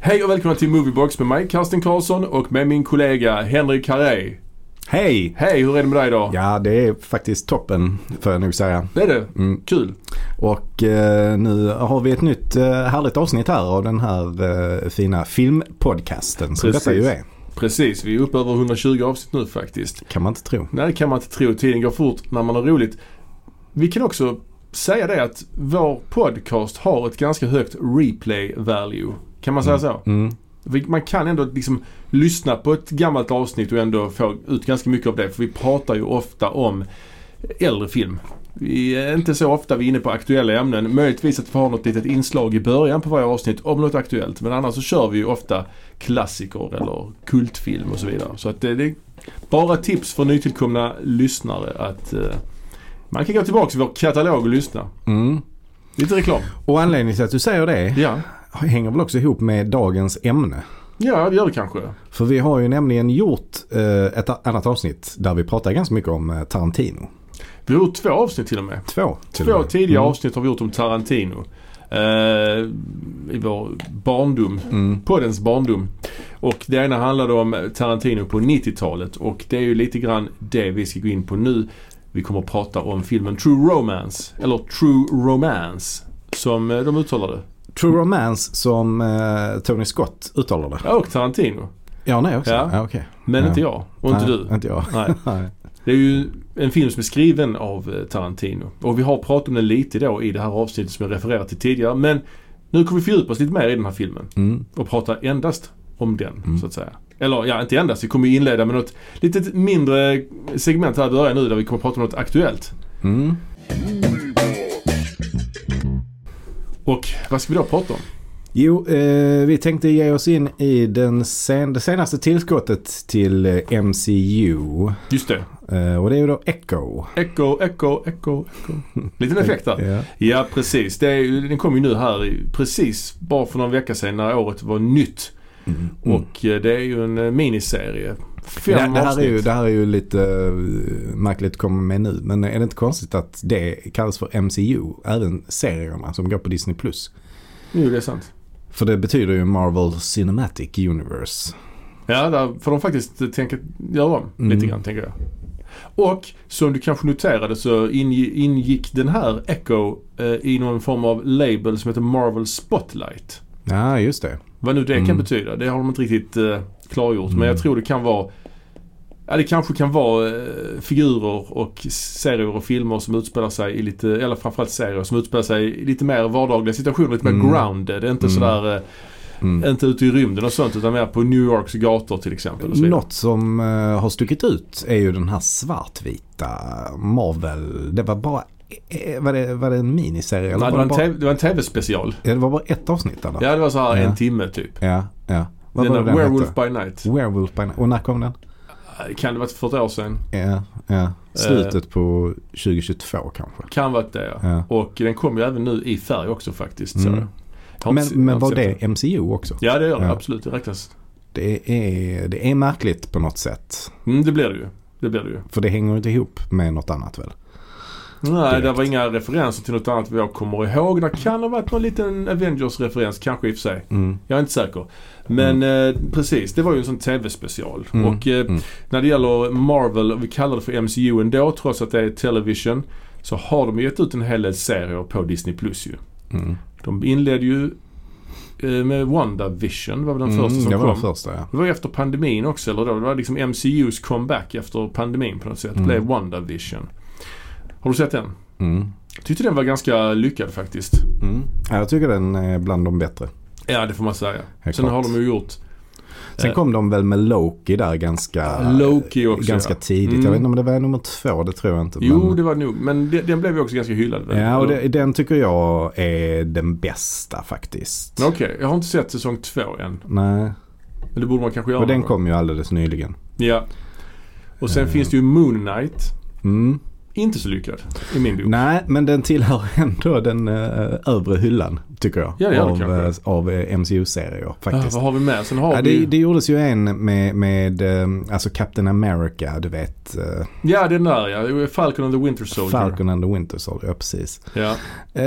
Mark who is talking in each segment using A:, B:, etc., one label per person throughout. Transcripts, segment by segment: A: Hej och välkomna till Moviebox med mig, Karsten Karlsson och med min kollega Henrik Harré.
B: Hej!
A: Hej, hur är det med dig idag?
B: Ja, det är faktiskt toppen får jag nog säga.
A: Det är det?
B: Mm.
A: Kul.
B: Och eh, nu har vi ett nytt eh, härligt avsnitt här av den här eh, fina filmpodcasten som
A: Precis.
B: detta ju är.
A: Precis, vi är uppe över 120 avsnitt nu faktiskt.
B: Kan man inte tro.
A: Nej, det kan man inte tro. Tiden går fort när man har roligt. Vi kan också säga det att vår podcast har ett ganska högt replay value. Kan man säga så?
B: Mm.
A: Vi- Man kan ändå liksom lyssna på ett gammalt avsnitt och ändå få ut ganska mycket av det. För vi pratar ju ofta om äldre film. Vi är inte så ofta vi är inne på aktuella ämnen. Möjligtvis att vi har något litet inslag i början på varje avsnitt om något aktuellt. Men annars så kör vi ju ofta klassiker eller kultfilm och så vidare. Så att det, det är bara tips för nytillkomna lyssnare att eh, man kan gå tillbaka till vår katalog och lyssna.
B: Mm.
A: Lite reklam.
B: Och anledningen till att du säger det
A: Ja,
B: hänger väl också ihop med dagens ämne.
A: ja det gör det kanske.
B: För vi har ju nämligen gjort eh, ett a- annat avsnitt där vi pratar ganska mycket om eh, Tarantino.
A: Vi har gjort två avsnitt till och med.
B: Två till och
A: Två
B: med.
A: tidiga
B: Mm.
A: avsnitt har vi gjort om Tarantino. Eh, I vår barndom.
B: Mm.
A: Poddens barndom. Och det ena handlade om Tarantino på 90-talet och det är ju lite grann det vi ska gå in på nu. Vi kommer att prata om filmen True Romance, eller True Romance, som eh, de uttalade.
B: True Romance som eh, Tony Scott uttalar det.
A: Ja, och Tarantino.
B: Ja, nej också.
A: Ja.
B: Ja, okej.
A: Men
B: Ja.
A: inte jag. Och inte
B: nej,
A: du.
B: Inte jag.
A: Nej.
B: Nej.
A: Det är ju en film som är skriven av eh, Tarantino. Och vi har pratat om den lite då i det här avsnittet som jag refererat till tidigare. Men nu kommer vi fördjupa oss lite mer i den här filmen.
B: Mm.
A: och prata endast om den så att säga. Eller ja, inte endast. Vi kommer ju inleda med något litet mindre segment här i början nu där vi kommer prata om något aktuellt.
B: Mm.
A: Och vad ska vi då prata om?
B: Jo, eh, vi tänkte ge oss in i den sen, det senaste tillskottet till eh, MCU.
A: Just det.
B: Eh, och det är ju då Echo.
A: Echo, echo, echo, echo. Liten effekt där.
B: Ja.
A: Ja, precis. Det är, ju- den kom ju nu här i, precis bara för någon vecka sedan när året var nytt. Och eh, det är ju en eh, miniserie.
B: Mm. Det,
A: Fem
B: det, här är
A: avsnitt.
B: ju, det här är ju lite eh, märkligt att komma med nu. Men är det inte konstigt att det kallas för MCU? Även serierna som går på Disney+. Plus.
A: Jo, det är sant.
B: För det betyder ju Marvel Cinematic Universe.
A: Ja, där får de faktiskt tänka, göra om lite
B: Mm.
A: grann tänker jag. Och som du kanske noterade så ingi- ingick den här Echo eh, i någon form av label som heter Marvel Spotlight.
B: Ja, just det.
A: Vad nu det kan
B: Mm.
A: betyda, det har de inte riktigt eh, klargjort. Men
B: Mm.
A: jag tror det kan vara Ja, det kanske kan vara eh, figurer och serier och filmer som utspelar sig i lite, eller framförallt serier som utspelar sig i lite mer vardagliga situationer, lite mer
B: Mm.
A: grounded. Inte
B: Mm.
A: sådär, eh,
B: Mm.
A: inte ute i rymden och sånt utan mer på New Yorks gator till exempel. Och så vidare.
B: Något som eh, har stuckit ut är ju den här svartvita Marvel. Det var bara, eh, var, det, var det en miniserie? Eller
A: Nej, det,
B: var
A: var
B: det,
A: en
B: bara,
A: TV, det var en tv-special.
B: Ja, det var bara ett avsnitt eller?
A: Ja, det var så här
B: Ja.
A: en timme typ.
B: ja. ja. Vad
A: den
B: var
A: där
B: det den
A: Werewolf
B: hette?
A: by Night.
B: Werewolf by Night. Och när kom den?
A: Kan det varit för ett år sedan?
B: Ja,
A: Eh.
B: ja. Slutet på 2022 kanske.
A: Kan varit det ja.
B: Ja.
A: Och den kom ju även nu i färg också faktiskt. Så.
B: Mm.
A: jag. Jag har
B: Men,
A: inte se- jag
B: men
A: har
B: var
A: inte sett
B: det MCU också?
A: Ja det gör det
B: Ja.
A: absolut. Det räknas.
B: Det är, det är märkligt på något sätt.
A: Mm, det blir det ju. Det blir det ju.
B: För det hänger inte ihop med något annat väl?
A: Nej,
B: Direkt.
A: det var inga referenser till något annat vad jag kommer ihåg. Det kan ha varit någon liten Avengers-referens kanske i och för sig.
B: Mm.
A: Jag är inte säker. Men eh, precis, det var ju en sån TV-special.
B: Mm.
A: Och eh,
B: Mm.
A: när det gäller Marvel, och vi kallar det för MCU ändå trots att det är television. Så har de ju gett ut en hel del serier på Disney Plus ju.
B: Mm.
A: De inledde ju eh, med WandaVision, var väl den första som
B: Mm, det var
A: kom.
B: den första ja.
A: Det var ju efter pandemin också, eller då? Det var liksom MCUs comeback efter pandemin på något sätt.
B: Mm.
A: Blev WandaVision. Har du sett den?
B: Mm.
A: Jag tyckte den var ganska lyckad faktiskt.
B: Mm. ja. Jag tycker den är bland de bättre.
A: Ja, det får man säga.
B: Helt
A: Sen
B: klart.
A: har de ju gjort
B: Sen
A: Eh.
B: kom de väl med Loki där ganska,
A: Loki också.
B: ganska
A: ja.
B: tidigt.
A: Mm.
B: Jag vet inte om det var nummer två, det tror jag inte.
A: Jo,
B: men,
A: det var det nog. Men de- den blev ju också ganska hyllad. väl?
B: ja, och
A: Eller-
B: det, den tycker jag är den bästa faktiskt.
A: Okej, jag har inte sett säsong två än.
B: Nej,
A: Men det borde man kanske göra.
B: och den
A: någon
B: kom ju alldeles nyligen.
A: gång. Ja. Och sen
B: Eh.
A: finns det ju Moon Knight.
B: Mm.
A: Inte så lyckad i min bok. Ah,
B: Nej, men den tillhör ändå den eh, övre hyllan tycker jag.
A: Ja, det gör den
B: av,
A: kanske.
B: eh, av eh, MCU-serier
A: Ah,
B: faktiskt.
A: vad har vi med? Sen har
B: ja,
A: vi...
B: det, det gjordes ju en med, med eh, alltså Captain America, du vet. eh,
A: Ja, den där ja. Falcon and the Winter Soldier.
B: Falcon and the Winter Soldier, ja, precis.
A: Ja.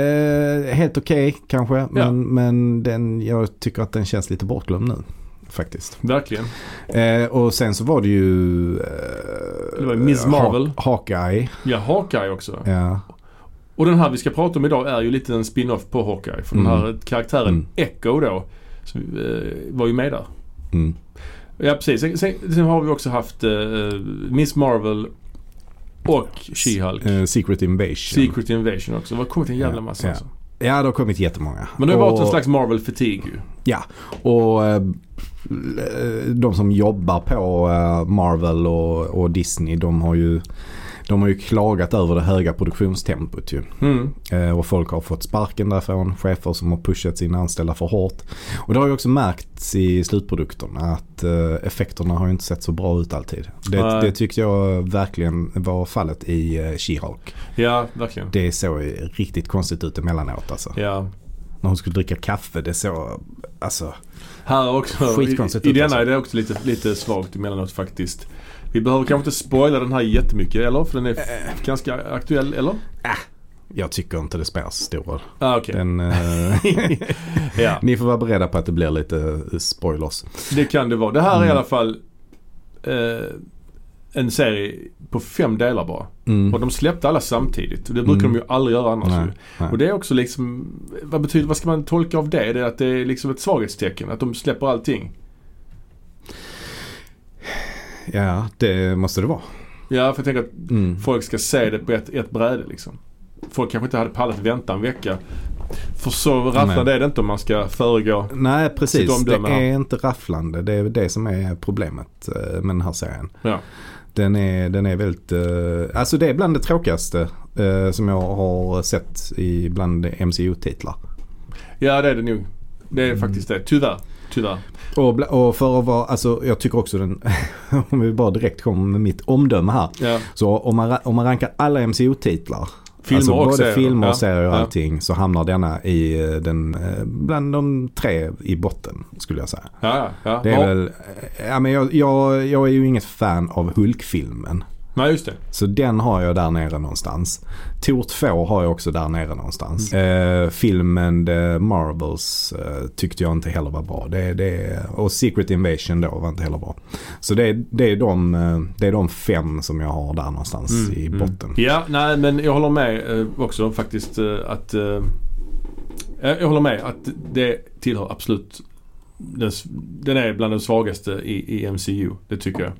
B: Eh, helt okej kanske, men, men den, jag tycker att den känns lite bortglömd nu. Faktiskt.
A: Verkligen.
B: Eh, och sen så var det ju... Eh,
A: Det var Miss Marvel.
B: Ha- Hawkeye.
A: Ja, Hawkeye också.
B: Eh, Ja.
A: Och den här vi ska prata om idag är ju lite en spin-off på Hawkeye. För den här karaktären
B: Mm.
A: Echo då, som, eh, var ju med där.
B: Mm.
A: Ja, precis. Sen, sen, sen har vi också haft eh, Miss Marvel och She-Hulk.
B: Eh, Secret Invasion.
A: Secret Invasion också. Det har kommit en jävla
B: Ja,
A: massa
B: ja.
A: alltså.
B: Ja, det har kommit jättemånga.
A: Men det har varit en
B: Och-
A: slags Marvel-fatigue ju.
B: Ja, och eh, de som jobbar på eh, Marvel och, och Disney de har, ju, de har ju klagat över det höga produktionstempot ju.
A: Mm.
B: Eh, Och folk har fått sparken därifrån, chefer som har pushat sina anställda för hårt. Och det har ju också märkts i slutprodukterna att eh, effekterna har ju inte sett så bra ut alltid. Det,
A: Nej.
B: det tyckte jag verkligen var fallet i eh, She-Hulk.
A: Ja, verkligen.
B: Det såg ju riktigt konstigt ut emellanåt alltså.
A: Ja.
B: När hon skulle dricka kaffe, det såg alltså...
A: Här också. I,
B: Skitkonstigt
A: i
B: ut,
A: denna
B: alltså.
A: är det också lite, lite svagt emellanåt faktiskt. Vi behöver kanske inte spoila den här jättemycket, eller? För den är
B: Eh.
A: f- ganska aktuell, eller?
B: Jag tycker inte det spelar så stor roll.
A: Ah, okej.
B: Den, eh,
A: Ja,
B: ni får vara beredda på att det blir lite eh, spoilers.
A: det kan det vara. Det här är i
B: Mm.
A: alla fall eh, en serie på fem delar bara.
B: Mm.
A: Och de släppte alla samtidigt. Och det brukar
B: Mm.
A: de ju aldrig göra annars.
B: Nej,
A: ju.
B: nej.
A: Och det är också liksom, vad betyder, vad ska man tolka av det? Det är att det är liksom ett svaghetstecken. Att de släpper allting.
B: Ja, det måste det vara.
A: Ja, för jag tänker att
B: Mm.
A: folk ska se det på ett, ett bräde liksom. Folk kanske inte hade pallat vänta en vecka. För så rafflande
B: Nej.
A: är det inte om man ska föregå.
B: Nej,
A: Sitt
B: precis. Det
A: omdöme här.
B: är inte rafflande. Det är det som är problemet eh, med den här serien.
A: Ja.
B: Den är, den är väldigt... eh, Alltså det är bland det tråkigaste eh, som jag har sett i bland MCU-titlar.
A: ja, det är det nog. Det är
B: Mm.
A: faktiskt det. Tyvärr. Tyvärr.
B: Och, bla- och för att vara, alltså jag tycker också den, om vi bara direkt kommer med mitt omdöme här.
A: Ja.
B: Så om man, ra- om man rankar alla MCU-titlar
A: Filmer
B: alltså
A: och
B: både
A: serier.
B: filmer
A: Ja,
B: och serier och
A: ja.
B: allting så hamnar denna i eh, den, eh, bland de tre i botten skulle jag säga.
A: Ja, ja.
B: Det är
A: ja.
B: väl, eh, ja men jag, jag, jag är ju inget fan av Hulk-filmen.
A: Nej, just det.
B: Så den har jag där nere någonstans. Tor 2 har jag också där nere någonstans.
A: Mm.
B: Eh, filmen The Marbles eh, tyckte jag inte heller var bra. Det, det, och Secret Invasion då var inte heller bra. Så det, det, är, de, eh, det är de fem som jag har där någonstans
A: Mm,
B: i
A: mm.
B: botten.
A: Ja, nej men jag håller med eh, också faktiskt eh, att... Eh, jag jag håller med att det tillhör absolut... Den, s- den är bland de svagaste i, i MCU. Det tycker jag.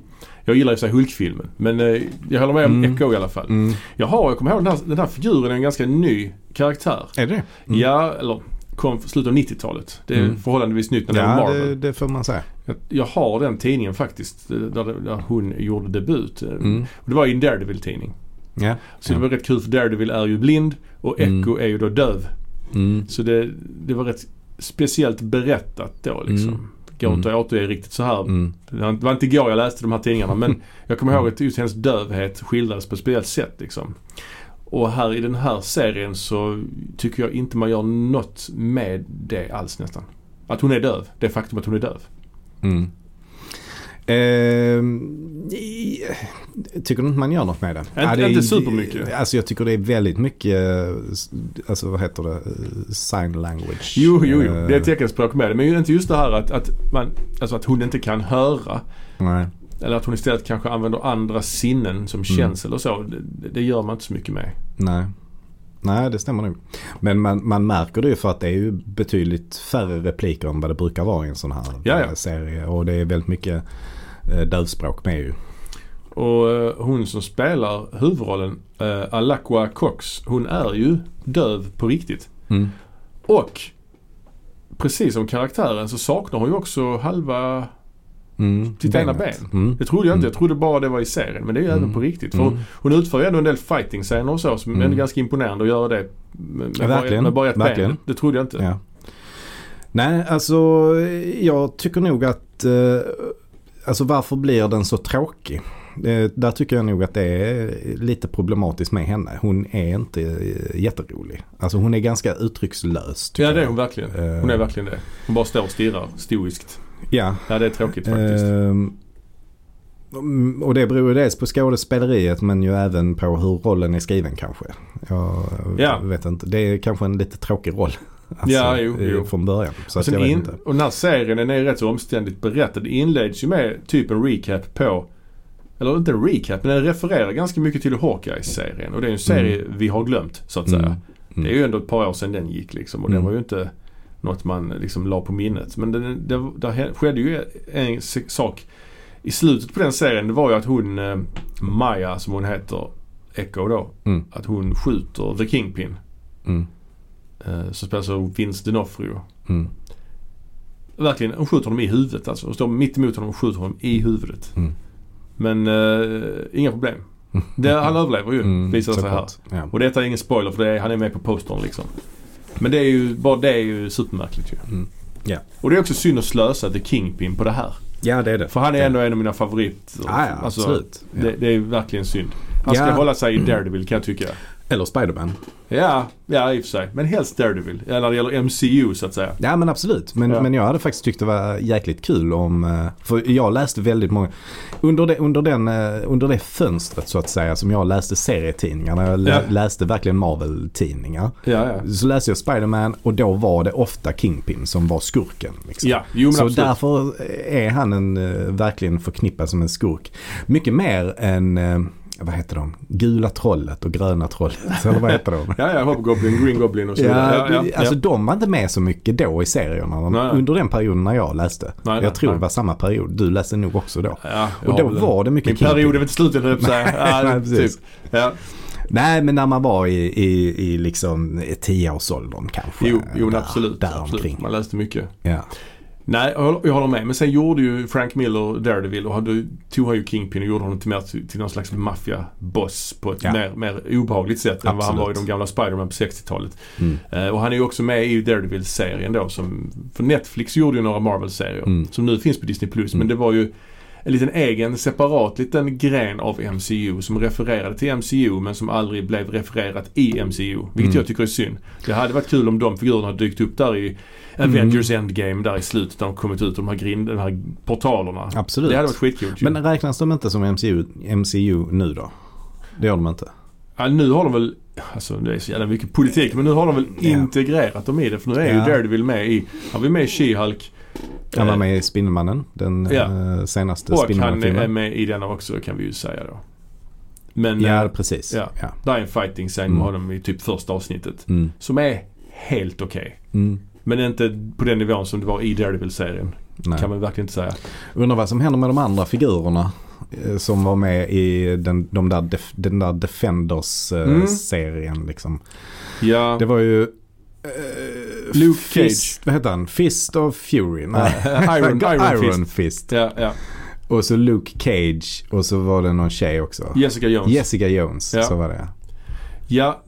A: Jag gillar ju sig Hulk-filmen. Men eh, jag håller med om
B: Mm.
A: Echo i alla fall.
B: Mm.
A: Jag har, jag kommer ihåg den här, den här figuren är en ganska ny karaktär.
B: Är det Mm.
A: Ja, eller kom från slutet av 90-talet. Det är
B: Mm.
A: förhållandevis nytt när det var
B: Ja,
A: Marvel.
B: det, det får man säga.
A: Jag, jag har den tidningen faktiskt. eh, Där, där hon gjorde debut. Eh,
B: Mm.
A: Och det var i en Daredevil-tidning.
B: Ja.
A: Så det var rätt kul för Daredevil är ju blind och Echo
B: Mm.
A: är ju då döv.
B: Mm.
A: Så det, det var rätt speciellt berättat då liksom.
B: Mm.
A: Går inte att återge riktigt så här.
B: Mm.
A: Det var inte igår jag läste de här tidningarna men jag kommer ihåg att just hennes dövhet skildrades på ett speciellt sätt liksom. Och här i den här serien så tycker jag inte man gör något med det alls nästan. Att hon är döv. Det faktum att hon är döv.
B: Mm. Ehm, i- tycker du inte man gör något med det? Inte,
A: inte supermycket.
B: Alltså jag tycker det är väldigt mycket, eh, s- alltså vad heter det, Eh, sign language.
A: Jo, jo, jo.
B: Eh,
A: Det är teckenspråk med det. Men ju inte just det här att, att, man, alltså att hon inte kan höra.
B: nej.
A: Eller att hon istället kanske använder andra sinnen
B: Mm.
A: som känsel och så. Det, det gör man inte så mycket med.
B: nej. Nej, det stämmer nog. Men man, man märker det ju för att det är ju betydligt färre repliker än vad det brukar vara i en sån här
A: Ja, ja.
B: eh, serie. Och det är väldigt mycket eh, dövspråk med ju.
A: Och eh, hon som spelar huvudrollen, eh, Alakwa Cox, hon är ju döv på riktigt.
B: Mm.
A: Och precis som karaktären så saknar hon ju också halva...
B: Mm.
A: Sitt ena
B: Benet. Mm.
A: Det trodde jag inte.
B: Mm.
A: Jag trodde bara det var i serien. Men det är ju
B: Mm.
A: även på riktigt. För
B: Mm.
A: hon, hon utför ju ändå en del fighting-scener och så som
B: Mm.
A: är ganska imponerande att göra det med, med, bara,
B: Verkligen.
A: med bara ett
B: Verkligen.
A: ben. Det trodde jag inte.
B: Ja. Nej, alltså jag tycker nog att eh, alltså varför blir den så tråkig? eh, där tycker jag nog att det är lite problematiskt med henne. Hon är inte eh, jätterolig. Alltså hon är ganska uttryckslös. tycker
A: Ja det är
B: jag.
A: hon verkligen.
B: Eh,
A: Hon är verkligen det. Hon bara står och stirrar stoiskt.
B: Ja,
A: Ja det är tråkigt faktiskt.
B: Ehm, mm, och det beror ju dels på skådespeleriet men ju även på hur rollen är skriven kanske. Jag
A: Ja.
B: vet inte. Det är kanske en lite tråkig roll. Alltså,
A: Ja, jo,
B: eh,
A: jo.
B: Från början. Så
A: Och,
B: att
A: sen
B: jag vet
A: in,
B: inte.
A: och den här serien den är rätt så omständigt berättad. Det inleds ju med typ en recap på, eller inte en recap, men den refererar ganska mycket till Hawkeye-serien. Och det är ju en serie vi har glömt så att säga.
B: Mm. Mm.
A: Det är ju ändå ett par år sedan den gick liksom och
B: Mm.
A: det var ju inte något man liksom la på minnet. Men det, det, där he- skedde ju en s- sak i slutet på den serien. Det var ju att hon, eh, Maya som hon heter, Echo då,
B: Mm.
A: att hon skjuter The Kingpin.
B: Mm.
A: Eh, som spelas av Vince D'Onofrio.
B: Mm.
A: Verkligen, hon skjuter honom i huvudet alltså. Hon står mitt emot honom och skjuter honom i huvudet.
B: Mm.
A: Men eh, inga problem. Det, han överlever ju
B: Mm,
A: visar det sig här.
B: såklart. Ja.
A: Och detta är ingen spoiler för det är, han är med på postern liksom. Men det är ju, bara det är ju supermärkligt ju.
B: Mm. Ja.
A: Och det är också synd att slösa The Kingpin på det här.
B: ja det är det.
A: För han är ändå en av mina favoriter.
B: Ja, ja
A: Alltså,
B: absolut. Ja.
A: Det, det är verkligen synd. Han ska
B: Ja. Mm.
A: hålla sig i Daredevil kan jag tycka.
B: Eller Spiderman.
A: Ja, ja i och för sig. Men helst Daredevil. Eller när det gäller MCU så att säga.
B: Ja men absolut. Men,
A: Ja.
B: men jag hade faktiskt tyckt det var jäkligt kul om... eh, För jag läste väldigt många... Under det, under, den, eh, under det fönstret så att säga som jag läste serietidningarna. Jag lä-
A: Ja.
B: läste verkligen Marvel-tidningar.
A: Ja, ja.
B: Så läste jag Spider-Man och då var det ofta Kingpin som var skurken. Liksom.
A: Ja, jo men
B: så
A: absolut.
B: därför är han en, eh, verkligen förknippad som en skurk. Mycket mer än, eh, vad heter de, gula trollet och gröna trollet. Eller vad heter de?
A: Ja, ja. Hobgoblin, Green Goblin och så vidare.
B: Ja, alltså de var inte med så mycket då i serierna.
A: Nej.
B: Under den perioden när jag läste.
A: Nej, nej,
B: jag tror
A: nej.
B: det var samma period. Du läste nog också då.
A: Ja, jag
B: Och då
A: har väl-
B: var det mycket
A: Min
B: Kingpin.
A: period är väl inte slut än höll jag på att säga. Ja,
B: Nej, precis.
A: typ. Ja.
B: Nej, men när man var i, i, i liksom i tioårsåldern kanske.
A: Jo, jo
B: där,
A: absolut.
B: Där
A: absolut.
B: omkring.
A: Man läste mycket.
B: Ja. Mm.
A: Nej, jag håller- jag håller med. Men sen gjorde ju Frank Miller Daredevil och hade, tog han ju Kingpin och gjorde honom till, mer, till till någon slags maffiaboss på ett
B: Ja.
A: mer, mer obehagligt sätt än vad han
B: Absolut.
A: var i de gamla Spider-Man på 60-talet.
B: Mm.
A: Eh, och han är ju också med i Daredevil-serien då som, för Netflix gjorde ju några Marvel-serier
B: Mm.
A: som nu finns på Disney+. Plus Men
B: Mm.
A: det var ju en liten egen separat liten gren av MCU som refererade till MCU men som aldrig blev refererat i MCU. Vilket
B: Mm.
A: jag tycker är synd. Det hade varit kul om de figurerna hade dykt upp där i Avengers
B: Mm.
A: Endgame där i slutet när de kommit ut ur de här, grind, de här portalerna.
B: Absolut.
A: Det hade varit skitkul. ju.
B: Men räknas de inte som MCU, MCU nu då? Det gör de inte.
A: Ja, nu har de väl, alltså det är så jävla mycket politik, men nu har de väl
B: Ja.
A: integrerat dem i det. För nu är
B: Ja.
A: ju Daredevil med i, han var med i She-Hulk.
B: Han var
A: eh,
B: med i Spindelmannen, den
A: Ja.
B: eh, senaste
A: Och han är
B: Spindelmannen-filmen.
A: med i denna också kan vi ju säga då. Men
B: Ja,
A: eh,
B: precis.
A: ja.
B: Ja.
A: där är en fighting-scen
B: Mm.
A: med honom i typ första avsnittet.
B: Mm.
A: Som är helt okej.
B: Mm.
A: Men inte på den nivån som det var i Daredevil-serien.
B: Nej.
A: Kan man verkligen inte säga.
B: Undrar vad som händer med de andra figurerna eh, som var med i den, de där, def, den där
A: Mm.
B: Defenders-serien. Liksom.
A: Ja,
B: Det var ju... eh,
A: Luke
B: Fist, vad heter han? Fist of Fury? Nej.
A: Iron, Iron,
B: Iron
A: Fist.
B: Fist.
A: Ja, ja.
B: Och så Luke Cage och så var det någon tjej också.
A: Jessica Jones.
B: Jessica Jones,
A: Ja.
B: så var det.
A: Ja,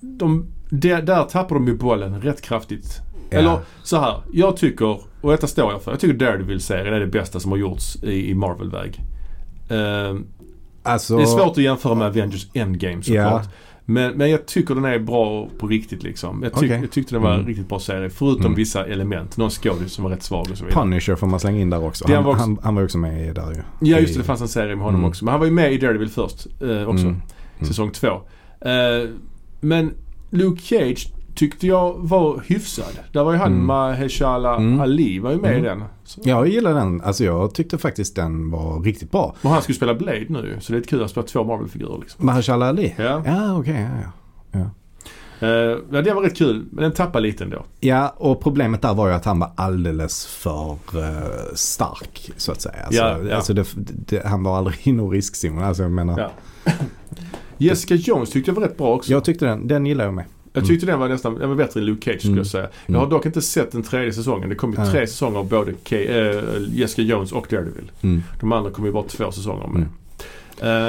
A: de, där, där tappar de ju bollen rätt kraftigt.
B: Ja.
A: Eller så här, jag tycker, och detta står jag för, jag tycker Daredevil-serien är det bästa som har gjorts i, i Marvel-väg. Ehm,
B: Alltså,
A: Det är svårt att jämföra med Avengers Endgame såklart.
B: Ja.
A: Men, men jag tycker den är bra på riktigt liksom. Jag, tyck,
B: Okej.
A: jag tyckte den var en
B: Mm.
A: riktigt bra serie. Förutom vissa element. Någon skådis som var rätt svag och så vidare.
B: Punisher får man slänga in där också.
A: Den
B: Han,
A: var också-
B: han, han var ju också med i där ju.
A: Ja just
B: I-
A: det, det fanns en serie med honom
B: Mm.
A: också. Men han var ju med i Daredevil först eh, också.
B: Mm. Mm.
A: Säsong två. Eh, men Luke Cage tyckte jag var hyfsad. Där var ju han
B: Mm.
A: Maheshala
B: Mm.
A: Ali var ju med
B: Mm.
A: i den. Så.
B: Jag gillar den. Alltså jag tyckte faktiskt den var riktigt bra.
A: Och han skulle spela Blade nu så det är kul att spela två Marvel-figurer liksom.
B: Mahershala Ali?
A: Ja.
B: Ja, okej. ja, ja.
A: Eh, ja, det var rätt kul. Men den tappade lite ändå.
B: ja, och problemet där var ju att han var alldeles för eh, stark så att säga. Alltså,
A: Ja, ja.
B: Alltså det, det, han var aldrig inom riskzonen. Alltså, jag, menar,
A: Ja. Jessica Jones tyckte jag var rätt bra också.
B: jag tyckte den, den gillar jag med.
A: Jag tyckte den var nästan den var bättre än Luke Cage skulle
B: Mm.
A: jag säga. Jag
B: Mm.
A: har dock inte sett den tredje säsongen. Det kom ju
B: Nej.
A: tre säsonger av både K- eh, Jessica Jones och Daredevil.
B: Mm.
A: De andra kom ju bara två säsonger med.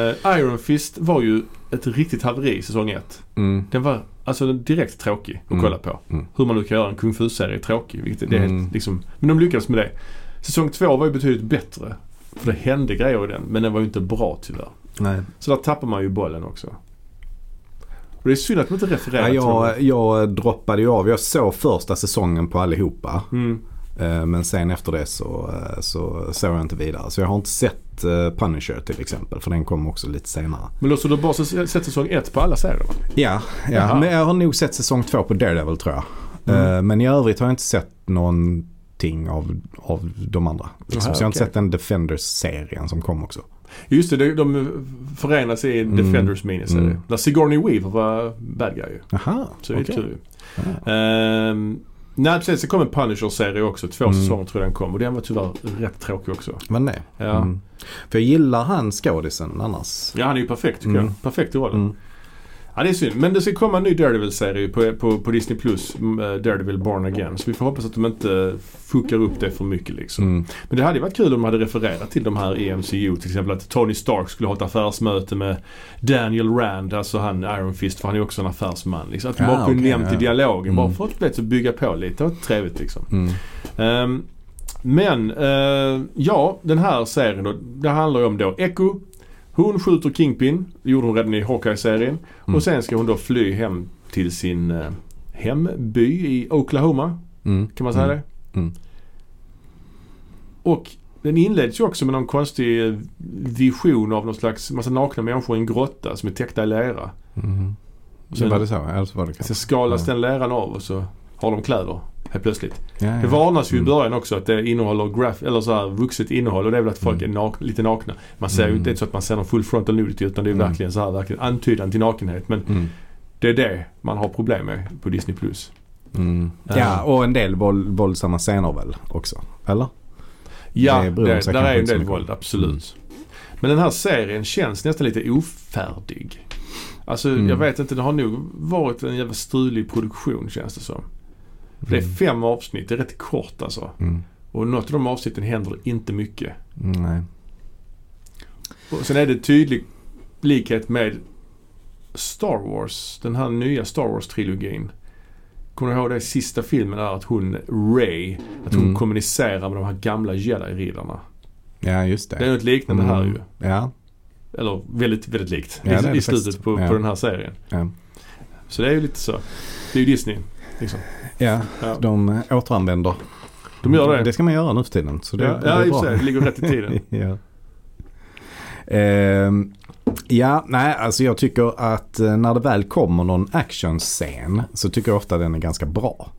A: Eh, Iron Fist var ju ett riktigt haveri i säsong ett.
B: Mm.
A: Den var alltså direkt tråkig att
B: Mm.
A: kolla på.
B: Mm.
A: Hur man nu kan göra en kung fu-serie tråkig. Vilket det är
B: Mm.
A: helt, liksom, men de lyckades med det. Säsong två var ju betydligt bättre. För det hände grejer i den, men den var ju inte bra tyvärr.
B: Nej.
A: Så där tappar man ju bollen också. Och det är synd att de inte refererar
B: Ja,
A: till det.
B: jag, jag droppade ju av. Jag såg första säsongen på allihopa.
A: Mm.
B: Eh, Men sen efter det så, eh, så såg jag inte vidare. Så jag har inte sett eh, Punisher till exempel. För den kom också lite senare.
A: Men då så du har bara s- sett säsong ett på alla serier va?
B: Ja, ja.
A: Jaha. Mm.
B: men jag har nog sett säsong två på Daredevil tror jag. Eh, Men i övrigt har jag inte sett någonting av, av de andra. Liksom.
A: Jaha,
B: så jag har inte
A: okej.
B: sett den Defenders-serien som kom också.
A: Just det, de- de förenas i
B: Mm.
A: Defenders miniserie.
B: Mm.
A: Där Sigourney Weaver var bad guy ju.
B: Aha,
A: Så det är
B: okej. Ah.
A: kul ju.
B: Ja.
A: Ehm, nej precis, det kom en Punisher-serie också. Två
B: Mm.
A: säsonger tror jag den kom. Och den var tyvärr rätt tråkig också.
B: Men det.
A: Ja.
B: Mm. För jag gillar han skådisen annars.
A: Ja, han är ju perfekt tycker
B: Mm.
A: jag. Perfekt i rollen.
B: Mm.
A: Ja, det är synd. Men det ska komma en ny Daredevil-serie på, på, på Disney+. Plus, m, eh, Daredevil Born Again. Så vi får hoppas att de inte fuckar upp det för mycket liksom.
B: Mm.
A: Men det hade ju varit kul om de hade refererat till de här E i MCU. Till exempel att Tony Stark skulle ha ett affärsmöte med Daniel Rand, alltså han Iron Fist, för han är också en affärsman. Liksom. Att de
B: Ah,
A: bara kunde
B: okej,
A: nämnt i
B: ja.
A: dialogen. Bara
B: Mm.
A: för att vet, så bygga på lite. Det var trevligt liksom.
B: Mm.
A: Ehm, men eh, ja, den här serien då. Det handlar ju om då Echo. Hon skjuter Kingpin. Det gjorde hon redan i Hawkeye-serien.
B: Mm.
A: Och sen ska hon då fly hem till sin eh, hemby i Oklahoma.
B: Mm.
A: Kan man säga
B: Mm.
A: det?
B: Mm.
A: Och den inleds ju också med någon konstig eh, vision av någon slags massa nakna människor i en grotta som är täckta i lera.
B: Mm. Så
A: Men-
B: var det så? Eller så var det
A: Sen
B: kanske.
A: skalas
B: Ja.
A: den leran av och så har de kläder helt plötsligt.
B: Ja, ja.
A: Det varnas ju i
B: Mm.
A: början också att det innehåller graf eller så här vuxet innehåll och det är väl att folk är nak- lite nakna. Man ser ju
B: Mm.
A: inte det är inte så att man ser någon full frontal nudity utan det är
B: Mm.
A: verkligen så här verkligen antydan till nakenhet. Men
B: Mm.
A: det är det man har problem med på Disney+. Plus.
B: Mm.
A: Eh.
B: Ja, och en del våld, våldsamma scener väl också? Eller?
A: Ja,
B: Det
A: det
B: beror sig
A: där
B: kanske
A: är en
B: inte så
A: del
B: mycket om.
A: våld, absolut. Men den här serien känns nästan lite ofärdig. Alltså
B: Mm.
A: jag vet inte, det har nog varit en jävla strulig produktion känns det som. För Det är fem avsnitt, det är rätt kort alltså.
B: Mm.
A: Och något av de avsnitten händer det inte mycket.
B: Mm, Nej.
A: Och sen är det tydlig likhet med Star Wars, den här nya Star Wars-trilogin. Kommer du ihåg det i sista filmen där att hon, Ray, att hon
B: Mm.
A: kommunicerar med de här gamla jedi-riddarna.
B: Ja, just
A: Det är
B: det. Mm.
A: något liknande här ju.
B: Ja.
A: Eller väldigt, väldigt likt
B: Ja, det är det
A: i, i
B: faktiskt.
A: slutet på,
B: Ja.
A: på den här serien.
B: Ja.
A: Så det är ju lite så. Det är ju Disney. Liksom.
B: ja,
A: Ja.
B: de eh, återanvänder.
A: De gör det.
B: Det ska man göra nu för tiden. Så det,
A: ja,
B: det
A: ja,
B: är
A: i och
B: bra.
A: för sig. Det ligger rätt i tiden.
B: ja. Ehm, ja, nej, alltså jag tycker att eh, när det väl kommer någon actionscen så tycker jag ofta den är ganska bra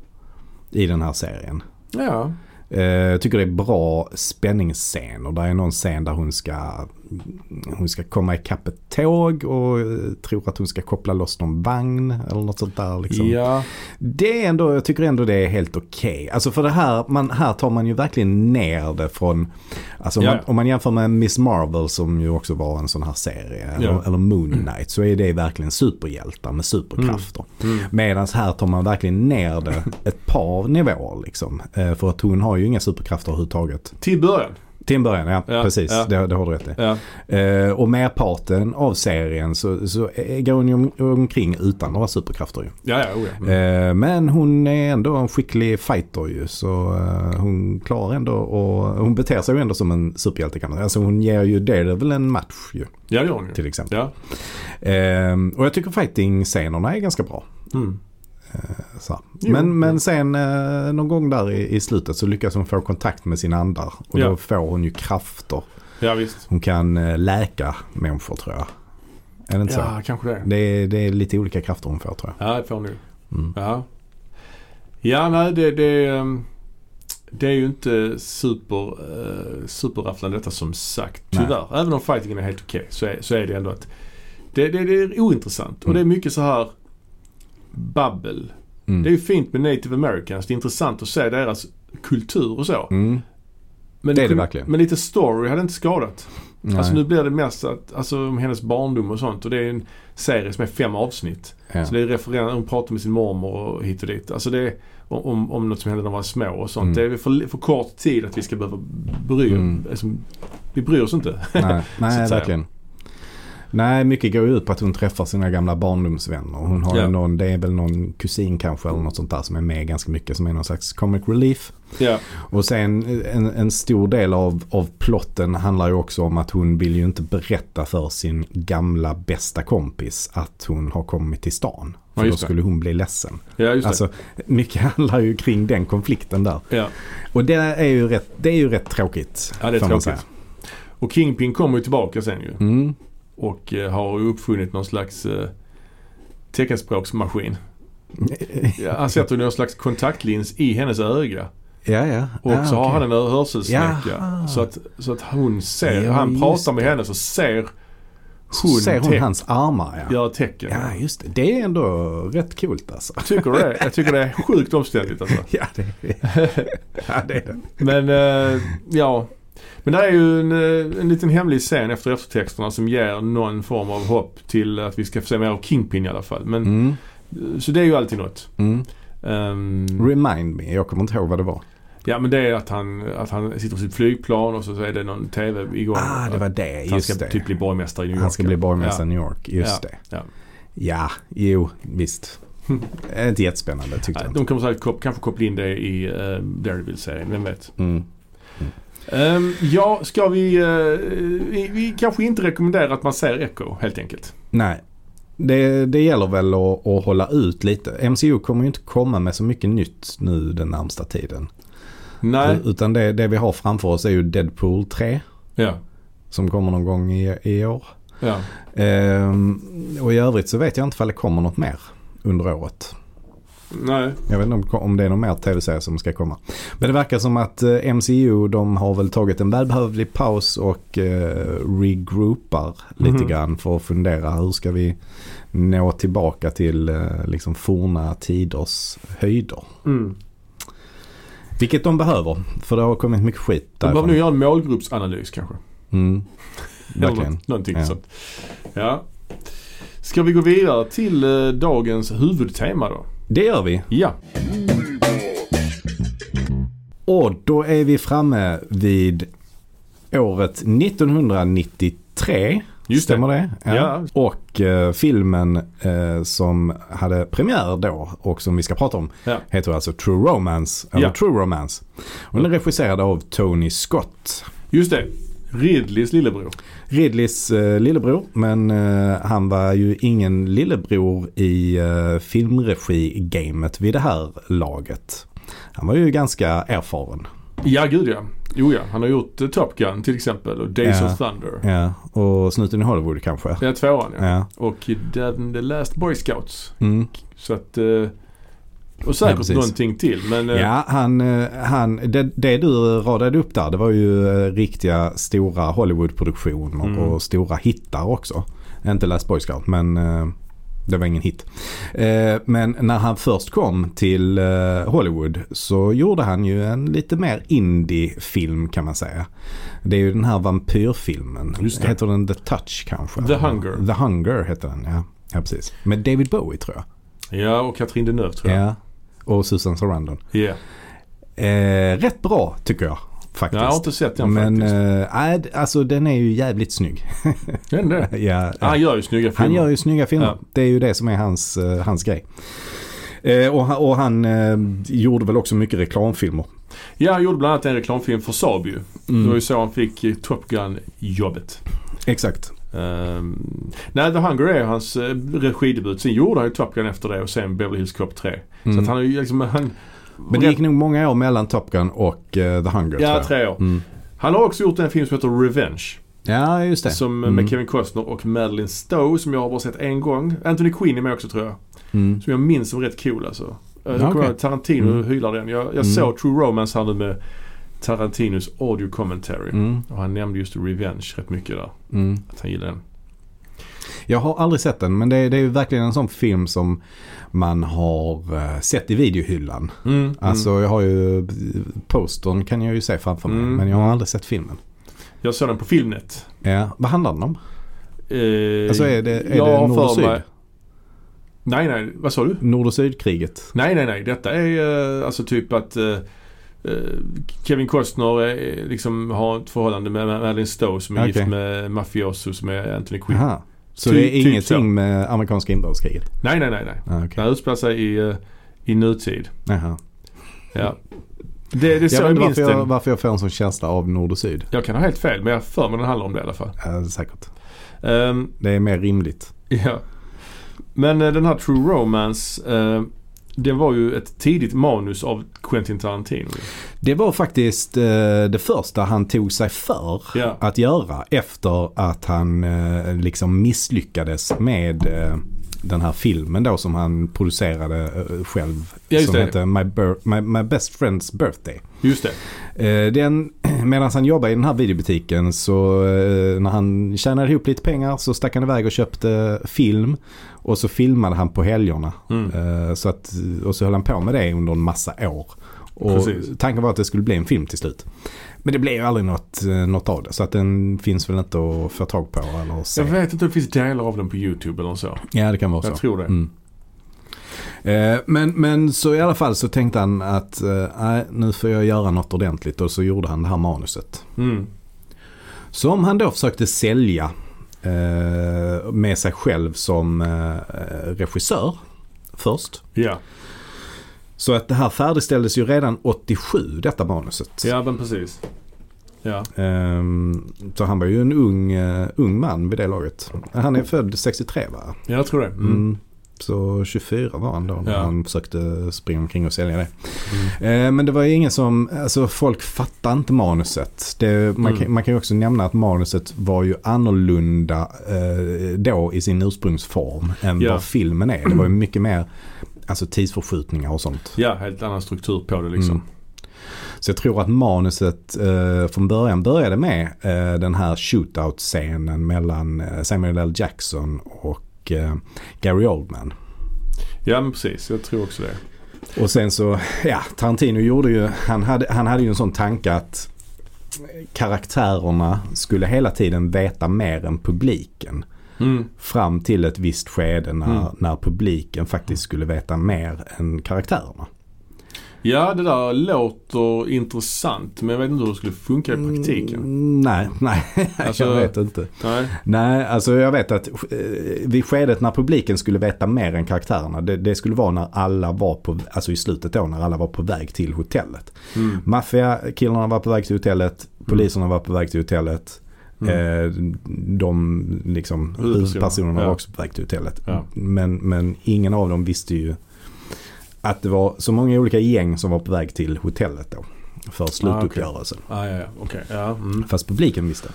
B: i den här serien.
A: Ja.
B: Eh, Jag tycker det är bra spänningsscen och där är någon scen där hon ska, hon ska komma ikapp ett tåg och eh, tror att hon ska koppla loss någon vagn eller något sånt där. Liksom.
A: ja.
B: Det är ändå, jag tycker ändå det är helt okej. Alltså för det här, man, här tar man ju verkligen ner det från, alltså om,
A: Ja.
B: man, om man jämför med Miss Marvel som ju också var en sån här serie,
A: Ja.
B: eller, eller Moon Knight, så är det verkligen superhjältar med superkrafter.
A: Mm.
B: Medan här tar man verkligen ner det ett par nivåer liksom. Eh, För att hon har ju inga superkrafter överhuvudtaget.
A: Till början.
B: Till en början, ja,
A: Ja,
B: precis.
A: ja.
B: Det, det har du rätt i.
A: Ja.
B: Eh, Och merparten av serien så, så eh, går hon ju om- omkring utan några superkrafter ju.
A: Ja, ja, oh, ja.
B: Eh, Men hon är ändå en skicklig fighter ju så eh, hon klarar ändå och hon beter sig ju ändå som en superhjälte kan man säga. Alltså hon ger ju Daredevil en match ju
A: Ja, det gör hon ju.
B: till exempel.
A: Ja.
B: Eh, Och jag tycker fighting-scenerna är ganska bra.
A: Mm.
B: Så. här.
A: Jo.
B: Men, men sen eh, någon gång där i, i slutet så lyckas hon få kontakt med sina andar och
A: Ja.
B: då får hon ju krafter.
A: ja, visst.
B: Hon kan eh, läka människor tror jag. Är det inte så?
A: Ja, kanske det.
B: Det är, det är lite olika krafter hon får tror jag.
A: Ja, det får ni.
B: Mm.
A: Ja. Ja, nej det, det, ehm, det är ju inte super, eh, superrafflande detta som sagt.
B: Nej.
A: Tyvärr. Även om fightingen är helt okej så, är, så är det ändå att det, det, det är ointressant. Och
B: Mm.
A: det är mycket så här babbel.
B: Mm.
A: Det är ju fint med native americans. Det är intressant att se deras kultur och så.
B: Mm.
A: Men,
B: det är det
A: kunde-
B: verkligen.
A: men lite story hade inte skadat. Alltså
B: Nej.
A: nu blir det mest att, alltså, om hennes barndom och sånt. Och det är en serie som är fem avsnitt.
B: Ja.
A: Så det är referenser, hon pratar med sin mormor och hit och dit. Alltså det är om, om något som hände när de var små och sånt.
B: Mm.
A: Det är för, för kort tid att vi ska behöva bry oss.
B: Mm.
A: Alltså, vi bryr oss inte.
B: Nej,
A: så
B: nej
A: att säga.
B: verkligen. Nej, mycket går ju ut på att hon träffar sina gamla barndomsvänner. Hon har ju
A: Ja.
B: någon, det är väl någon kusin kanske eller något sånt där som är med ganska mycket. Som är någon slags comic relief.
A: Ja,
B: Och sen en, en stor del av, av plotten handlar ju också om att hon vill ju inte berätta för sin gamla bästa kompis att hon har kommit till stan. För
A: Ja,
B: då
A: just det.
B: skulle hon bli ledsen.
A: ja just det.
B: Alltså, mycket handlar ju kring den konflikten där.
A: ja.
B: Och det är ju rätt, det är ju rätt tråkigt.
A: ja, det är
B: får man
A: tråkigt. Och Kingpin kommer ju tillbaka sen ju.
B: säga. Mm.
A: Och eh, har ju uppfunnit någon slags eh, teckenspråksmaskin. Ja, han sätter någon slags kontaktlins i hennes öga.
B: Ja, ja.
A: Och
B: ja,
A: så har
B: Ah, okej.
A: han en hörselsnäcka.
B: Jaha.
A: Så att, så att hon ser,
B: Ja,
A: han
B: just
A: pratar med henne så ser
B: Så
A: hon,
B: ser hon
A: te-
B: hans armar, ja.
A: göra tecken.
B: Ja, just det. Det är ändå rätt coolt alltså.
A: Tycker du det? Jag tycker det är sjukt omständigt alltså.
B: Ja, det ja, det är det.
A: Men eh, ja. Men det är ju en, eh, en liten hemlig scen efter eftertexterna som ger någon form av hopp till att vi ska få se mer av Kingpin i alla fall. Men,
B: Mm.
A: eh, Så det är ju alltid något.
B: Mm.
A: Ehm,
B: Remind me, jag kommer inte ihåg vad det var.
A: ja men det är att han, att han sitter på sitt flygplan och så så är det någon TV igång.
B: Ah, det var det.
A: att han ska
B: Just det.
A: typ bli borgmästare i New York.
B: Han ska bli borgmästare i New York. Just det.
A: Ja.
B: Ja, jo, visst. Inte jättespännande tyckte
A: Ja.
B: jag inte.
A: De kommer säkert kop- kanske koppla in det i uh, Daredevil-serien, vem vet.
B: Mm.
A: Ehm, ja, ska vi, eh, vi... Vi kanske inte rekommenderar att man ser Echo helt enkelt.
B: Nej. Det, det gäller väl att, att hålla ut lite. MCU kommer ju inte komma med så mycket nytt nu den närmsta tiden.
A: Nej.
B: Utan det, det vi har framför oss är ju Deadpool 3
A: Ja.
B: som kommer någon gång i, i år.
A: ja.
B: Ehm, och i övrigt så vet jag inte ifall det kommer något mer under året.
A: Nej.
B: Jag vet inte om- om det är någon mer tv-serie som ska komma. Men det verkar som att eh, MCU de har väl tagit en välbehövlig paus och eh, regroupar lite
A: Mhm.
B: grann för att fundera hur ska vi nå tillbaka till eh, liksom forna tiders höjder.
A: Mm.
B: Vilket de behöver för det har kommit mycket skit
A: De behöver nog
B: därifrån.
A: göra en målgruppsanalys kanske.
B: Mm.
A: Eller
B: Verkligen.
A: något- Någonting
B: Ja.
A: sånt. Ja. Ska vi gå vidare till eh, dagens huvudtema då?
B: Det gör vi.
A: Ja.
B: Och då är vi framme vid året 1993.
A: Just det.
B: Stämmer det?
A: Ja.
B: Och eh, filmen eh, som hade premiär då och som vi ska prata om
A: Ja.
B: heter alltså True Romance. Eller
A: Ja.
B: True Romance. Och den är regisserad av Tony Scott.
A: Just det. Ridleys lillebror.
B: Ridleys eh, lillebror, men eh, han var ju ingen lillebror i eh, filmregi-gamet vid det här laget. Han var ju ganska erfaren.
A: Ja, gud ja. Jo ja, han har gjort eh, Top Gun till exempel och Days
B: Ja.
A: of Thunder.
B: Ja, och Snuten i Hollywood kanske.
A: Det är tvåan ja.
B: Ja.
A: Och i den- The Last Boy Scouts.
B: Mm.
A: Så att... eh, Och
B: Ja,
A: säkert
B: precis.
A: någonting till men... eh,
B: Ja, han, eh, han, det, det du radade upp där det var ju eh, riktiga stora Hollywoodproduktioner
A: Mm.
B: och stora hittar också. Inte Last Boy Scout men eh, det var ingen hit. Eh, Men när han först kom till eh, Hollywood så gjorde han ju en lite mer indie-film kan man säga. Det är ju den här vampyrfilmen.
A: Just det.
B: Heter den The Touch kanske?
A: The Hunger.
B: The Hunger heter den ja. Ja precis. Med David Bowie tror jag.
A: Ja, och Katrin Deneuve tror jag.
B: Ja. Och Susan Sarandon.
A: Ja.
B: Eh, rätt bra tycker jag faktiskt.
A: Jag har inte sett den
B: Men
A: faktiskt.
B: eh, nej, d- alltså den är ju jävligt snygg.
A: Är den det?
B: eh, ja,
A: Ja, Han gör ju snygga filmer.
B: han gör ju snygga filmer.
A: Ja.
B: Det är ju det som är hans, eh, hans grej. Eh, och, han- och han eh, gjorde väl också mycket reklamfilmer.
A: Ja, han gjorde bland annat en reklamfilm för Saab ju.
B: Mm.
A: Det var ju så han fick eh, Top Gun-jobbet.
B: Exakt.
A: Um, nej, The Hunger är hans eh, regidebut. Sen gjorde han ju Top Gun efter det och sen Beverly Hills Cop 3. Så
B: Mm.
A: att han är ju liksom... Han,
B: Men det gick nog många år mellan Top Gun och eh, The Hunger. tror
A: Ja,
B: jag.
A: tre år.
B: Mm.
A: Han har också gjort en film som heter Revenge.
B: Ja, just det.
A: Som eh,
B: Mm.
A: med Kevin Costner och Madeline Stowe som jag har bara sett en gång. Anthony Quinn är med också tror jag.
B: Mm.
A: Som jag minns som rätt cool alltså. Eh,
B: Ja, okej.
A: kommer ihåg Tarantino
B: Mm.
A: hyllar den. Jag, jag
B: Mm.
A: såg True Romance här nu med Tarantinos audio commentary.
B: Mm.
A: Och han nämnde just Revenge rätt mycket där.
B: Mm.
A: Att han gillar den.
B: Jag har aldrig sett den men det, det är ju verkligen en sån film som man har eh, sett i videohyllan.
A: Mm.
B: Alltså jag har ju postern kan jag ju se framför mig
A: Mm.
B: men jag har aldrig sett filmen.
A: Jag såg den på Filmnet.
B: Ja, vad handlar den om?
A: Eh,
B: Alltså är det, är
A: jag
B: det
A: har
B: nord och
A: för
B: syd?
A: mig- Nej, nej. Vad sa du?
B: Nord och sydkriget?
A: Nej, nej, nej. Detta är eh, alltså typ att eh, eh, Kevin Costner eh, liksom har ett förhållande med Madeline Stowe som är
B: Okej.
A: gift med Mafioso som är Anthony Quinn.
B: Aha. Så
A: Ty-
B: det är
A: typ
B: ingenting
A: så.
B: med amerikanska inbördeskriget?
A: Nej, nej, nej. nej.
B: Ah,
A: Den
B: okay.
A: utspelar sig i, eh, i nutid.
B: Jaha.
A: Ja. Det, det är så
B: Jag
A: jag,
B: vet inte
A: minns
B: varför jag,
A: den.
B: varför jag får en sån känsla av nord och syd.
A: Jag kan ha helt fel men jag har för mig den handlar om det i alla fall.
B: Eh, säkert.
A: Ehm,
B: Det är mer rimligt.
A: ja. Men eh, den här True Romance eh, det var ju ett tidigt manus av Quentin Tarantino.
B: Det var faktiskt eh, det första han tog sig för
A: Ja.
B: att göra efter att han eh, liksom misslyckades med eh, den här filmen då som han producerade eh, själv.
A: Ja, just
B: som
A: det.
B: hette My, Bir- My, My Best Friend's Birthday.
A: Just det.
B: Eh, Den, medan han jobbade i den här videobutiken så eh, när han tjänade ihop lite pengar så stack han iväg och köpte film. Och så filmade han på helgerna.
A: Mm.
B: Eh, Så att, och så höll han på med det under en massa år. Och
A: Precis.
B: tanken var att det skulle bli en film till slut. Men det blev ju aldrig något, eh, något av det. Så att den finns väl inte att få tag på eller
A: Jag
B: se.
A: vet inte om det finns delar av den på YouTube eller så.
B: Ja det kan vara så.
A: Jag tror det.
B: Mm. Eh, Men, men så i alla fall så tänkte han att eh, nej, nu får jag göra något ordentligt och så gjorde han det här manuset.
A: Mm.
B: Som han då försökte sälja eh, med sig själv som eh, regissör först.
A: Ja.
B: Så att det här färdigställdes ju redan 87 detta manuset.
A: ja, men precis. Ja.
B: Ehm, så han var ju en ung, eh, ung man vid det laget. Han är född 63 va?
A: Jag tror det.
B: Mm.
A: Mm.
B: Så 24 var han då när
A: Ja.
B: han försökte springa omkring och sälja det. Eh, Men det var ju ingen som, alltså folk fattar inte manuset. Det, man,
A: Mm.
B: kan, man kan ju också nämna att manuset var ju annorlunda eh, då i sin ursprungsform än
A: Ja.
B: vad filmen är. Det var ju mycket mer alltså, tidsförskjutningar och sånt.
A: Ja, helt annan struktur på det liksom.
B: Mm. Så jag tror att manuset eh, från början började med eh, den här shootout-scenen mellan eh, Samuel L. Jackson och eh, Gary Oldman.
A: Ja, men precis. Jag tror också det.
B: Och sen så, ja, Tarantino gjorde ju, han hade, han hade ju en sån tanke att karaktärerna skulle hela tiden veta mer än publiken.
A: Mm.
B: Fram till ett visst skede när,
A: Mm.
B: när publiken faktiskt skulle veta mer än karaktärerna.
A: Ja, det där låter intressant men jag vet inte hur det skulle funka i praktiken.
B: Mm, nej, nej, jag
A: Alltså-
B: vet inte.
A: Nej.
B: Nej, alltså jag vet att eh, vid skedet när publiken skulle veta mer än karaktärerna. Det, det skulle vara när alla var på, alltså i slutet då när alla var på väg till hotellet.
A: Mm.
B: Maffiakillarna var på väg till hotellet. Poliserna var på väg till hotellet. Eh, de liksom,
A: Mm. Huvudpersonerna,
B: huvudpersonerna var
A: ja.
B: också på väg till hotellet.
A: Ja.
B: Men, men ingen av dem visste ju att det var så många olika gäng som var på väg till hotellet då. För slutuppgörelsen.
A: Ah, ja, ja. Okej. Ja, mm.
B: Fast publiken visste.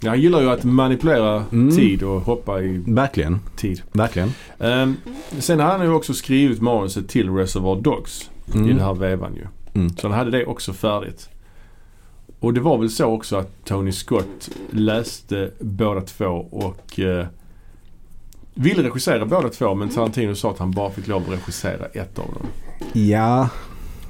A: Ja, Han gillar ju att manipulera
B: Mm.
A: tid och hoppa i
B: Verkligen,
A: tid.
B: verligen.
A: Ehm, sen har han ju också skrivit manuset till Reservoir Dogs i
B: Mm.
A: den här vevan ju.
B: Mm.
A: Så han hade det också färdigt. Och det var väl så också att Tony Scott läste båda två och eh, ville regissera båda två men Tarantino sa att han bara fick lov att regissera ett av dem.
B: Ja,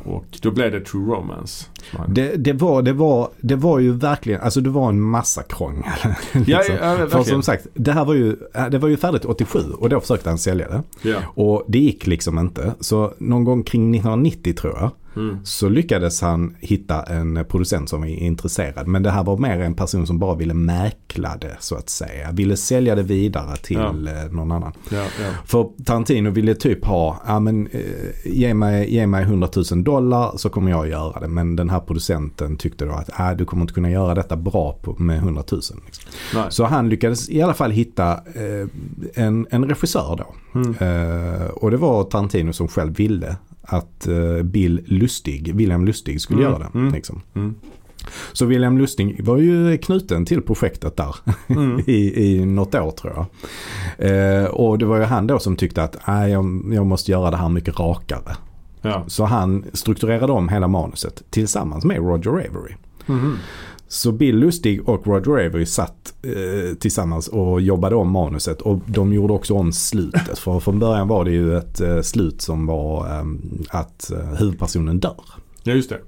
A: Och då blev det True Romance. som han-
B: Det, det, var, det, var, det var ju verkligen, alltså det var en massa krångel.
A: ja,
B: liksom.
A: ja,
B: För
A: verkligen.
B: som sagt, det här var ju, äh, det var ju färdigt 87 och då försökte han sälja det.
A: Ja.
B: Och det gick liksom inte. Så någon gång kring 1990 tror jag,
A: Mm.
B: så lyckades han hitta en producent som var intresserad. Men det här var mer en person som bara ville mäkla det så att säga. Ville sälja det vidare till
A: Ja.
B: eh, någon annan.
A: Ja, ja.
B: För Tarantino ville typ ha, ja men eh, ge mig, ge mig 100 000 dollar så kommer jag att göra det. Men den här producenten tyckte då att äh, du kommer inte kunna göra detta bra på, med 100 000. Liksom.
A: Nej.
B: Så han lyckades i alla fall hitta eh, en, en regissör då.
A: Mm.
B: Eh, och det var Tarantino som själv ville att eh, Bill Lustig, William Lustig skulle
A: Mm,
B: göra det.
A: mm.
B: Liksom.
A: Mm.
B: Så William Lustig var ju knuten till projektet där
A: Mm.
B: i, i något år tror jag. Eh, och det var ju han då som tyckte att "Nej, jag, jag måste göra det här mycket rakare.
A: Ja.
B: Så han strukturerade om hela manuset tillsammans med Roger Avery. Mm-hmm.
A: Mhm.
B: Så Bill Lustig och Roger Avery satt eh, tillsammans och jobbade om manuset och de gjorde också om slutet. För från början var det ju ett eh, slut som var eh, att eh, huvudpersonen dör.
A: ja, just det.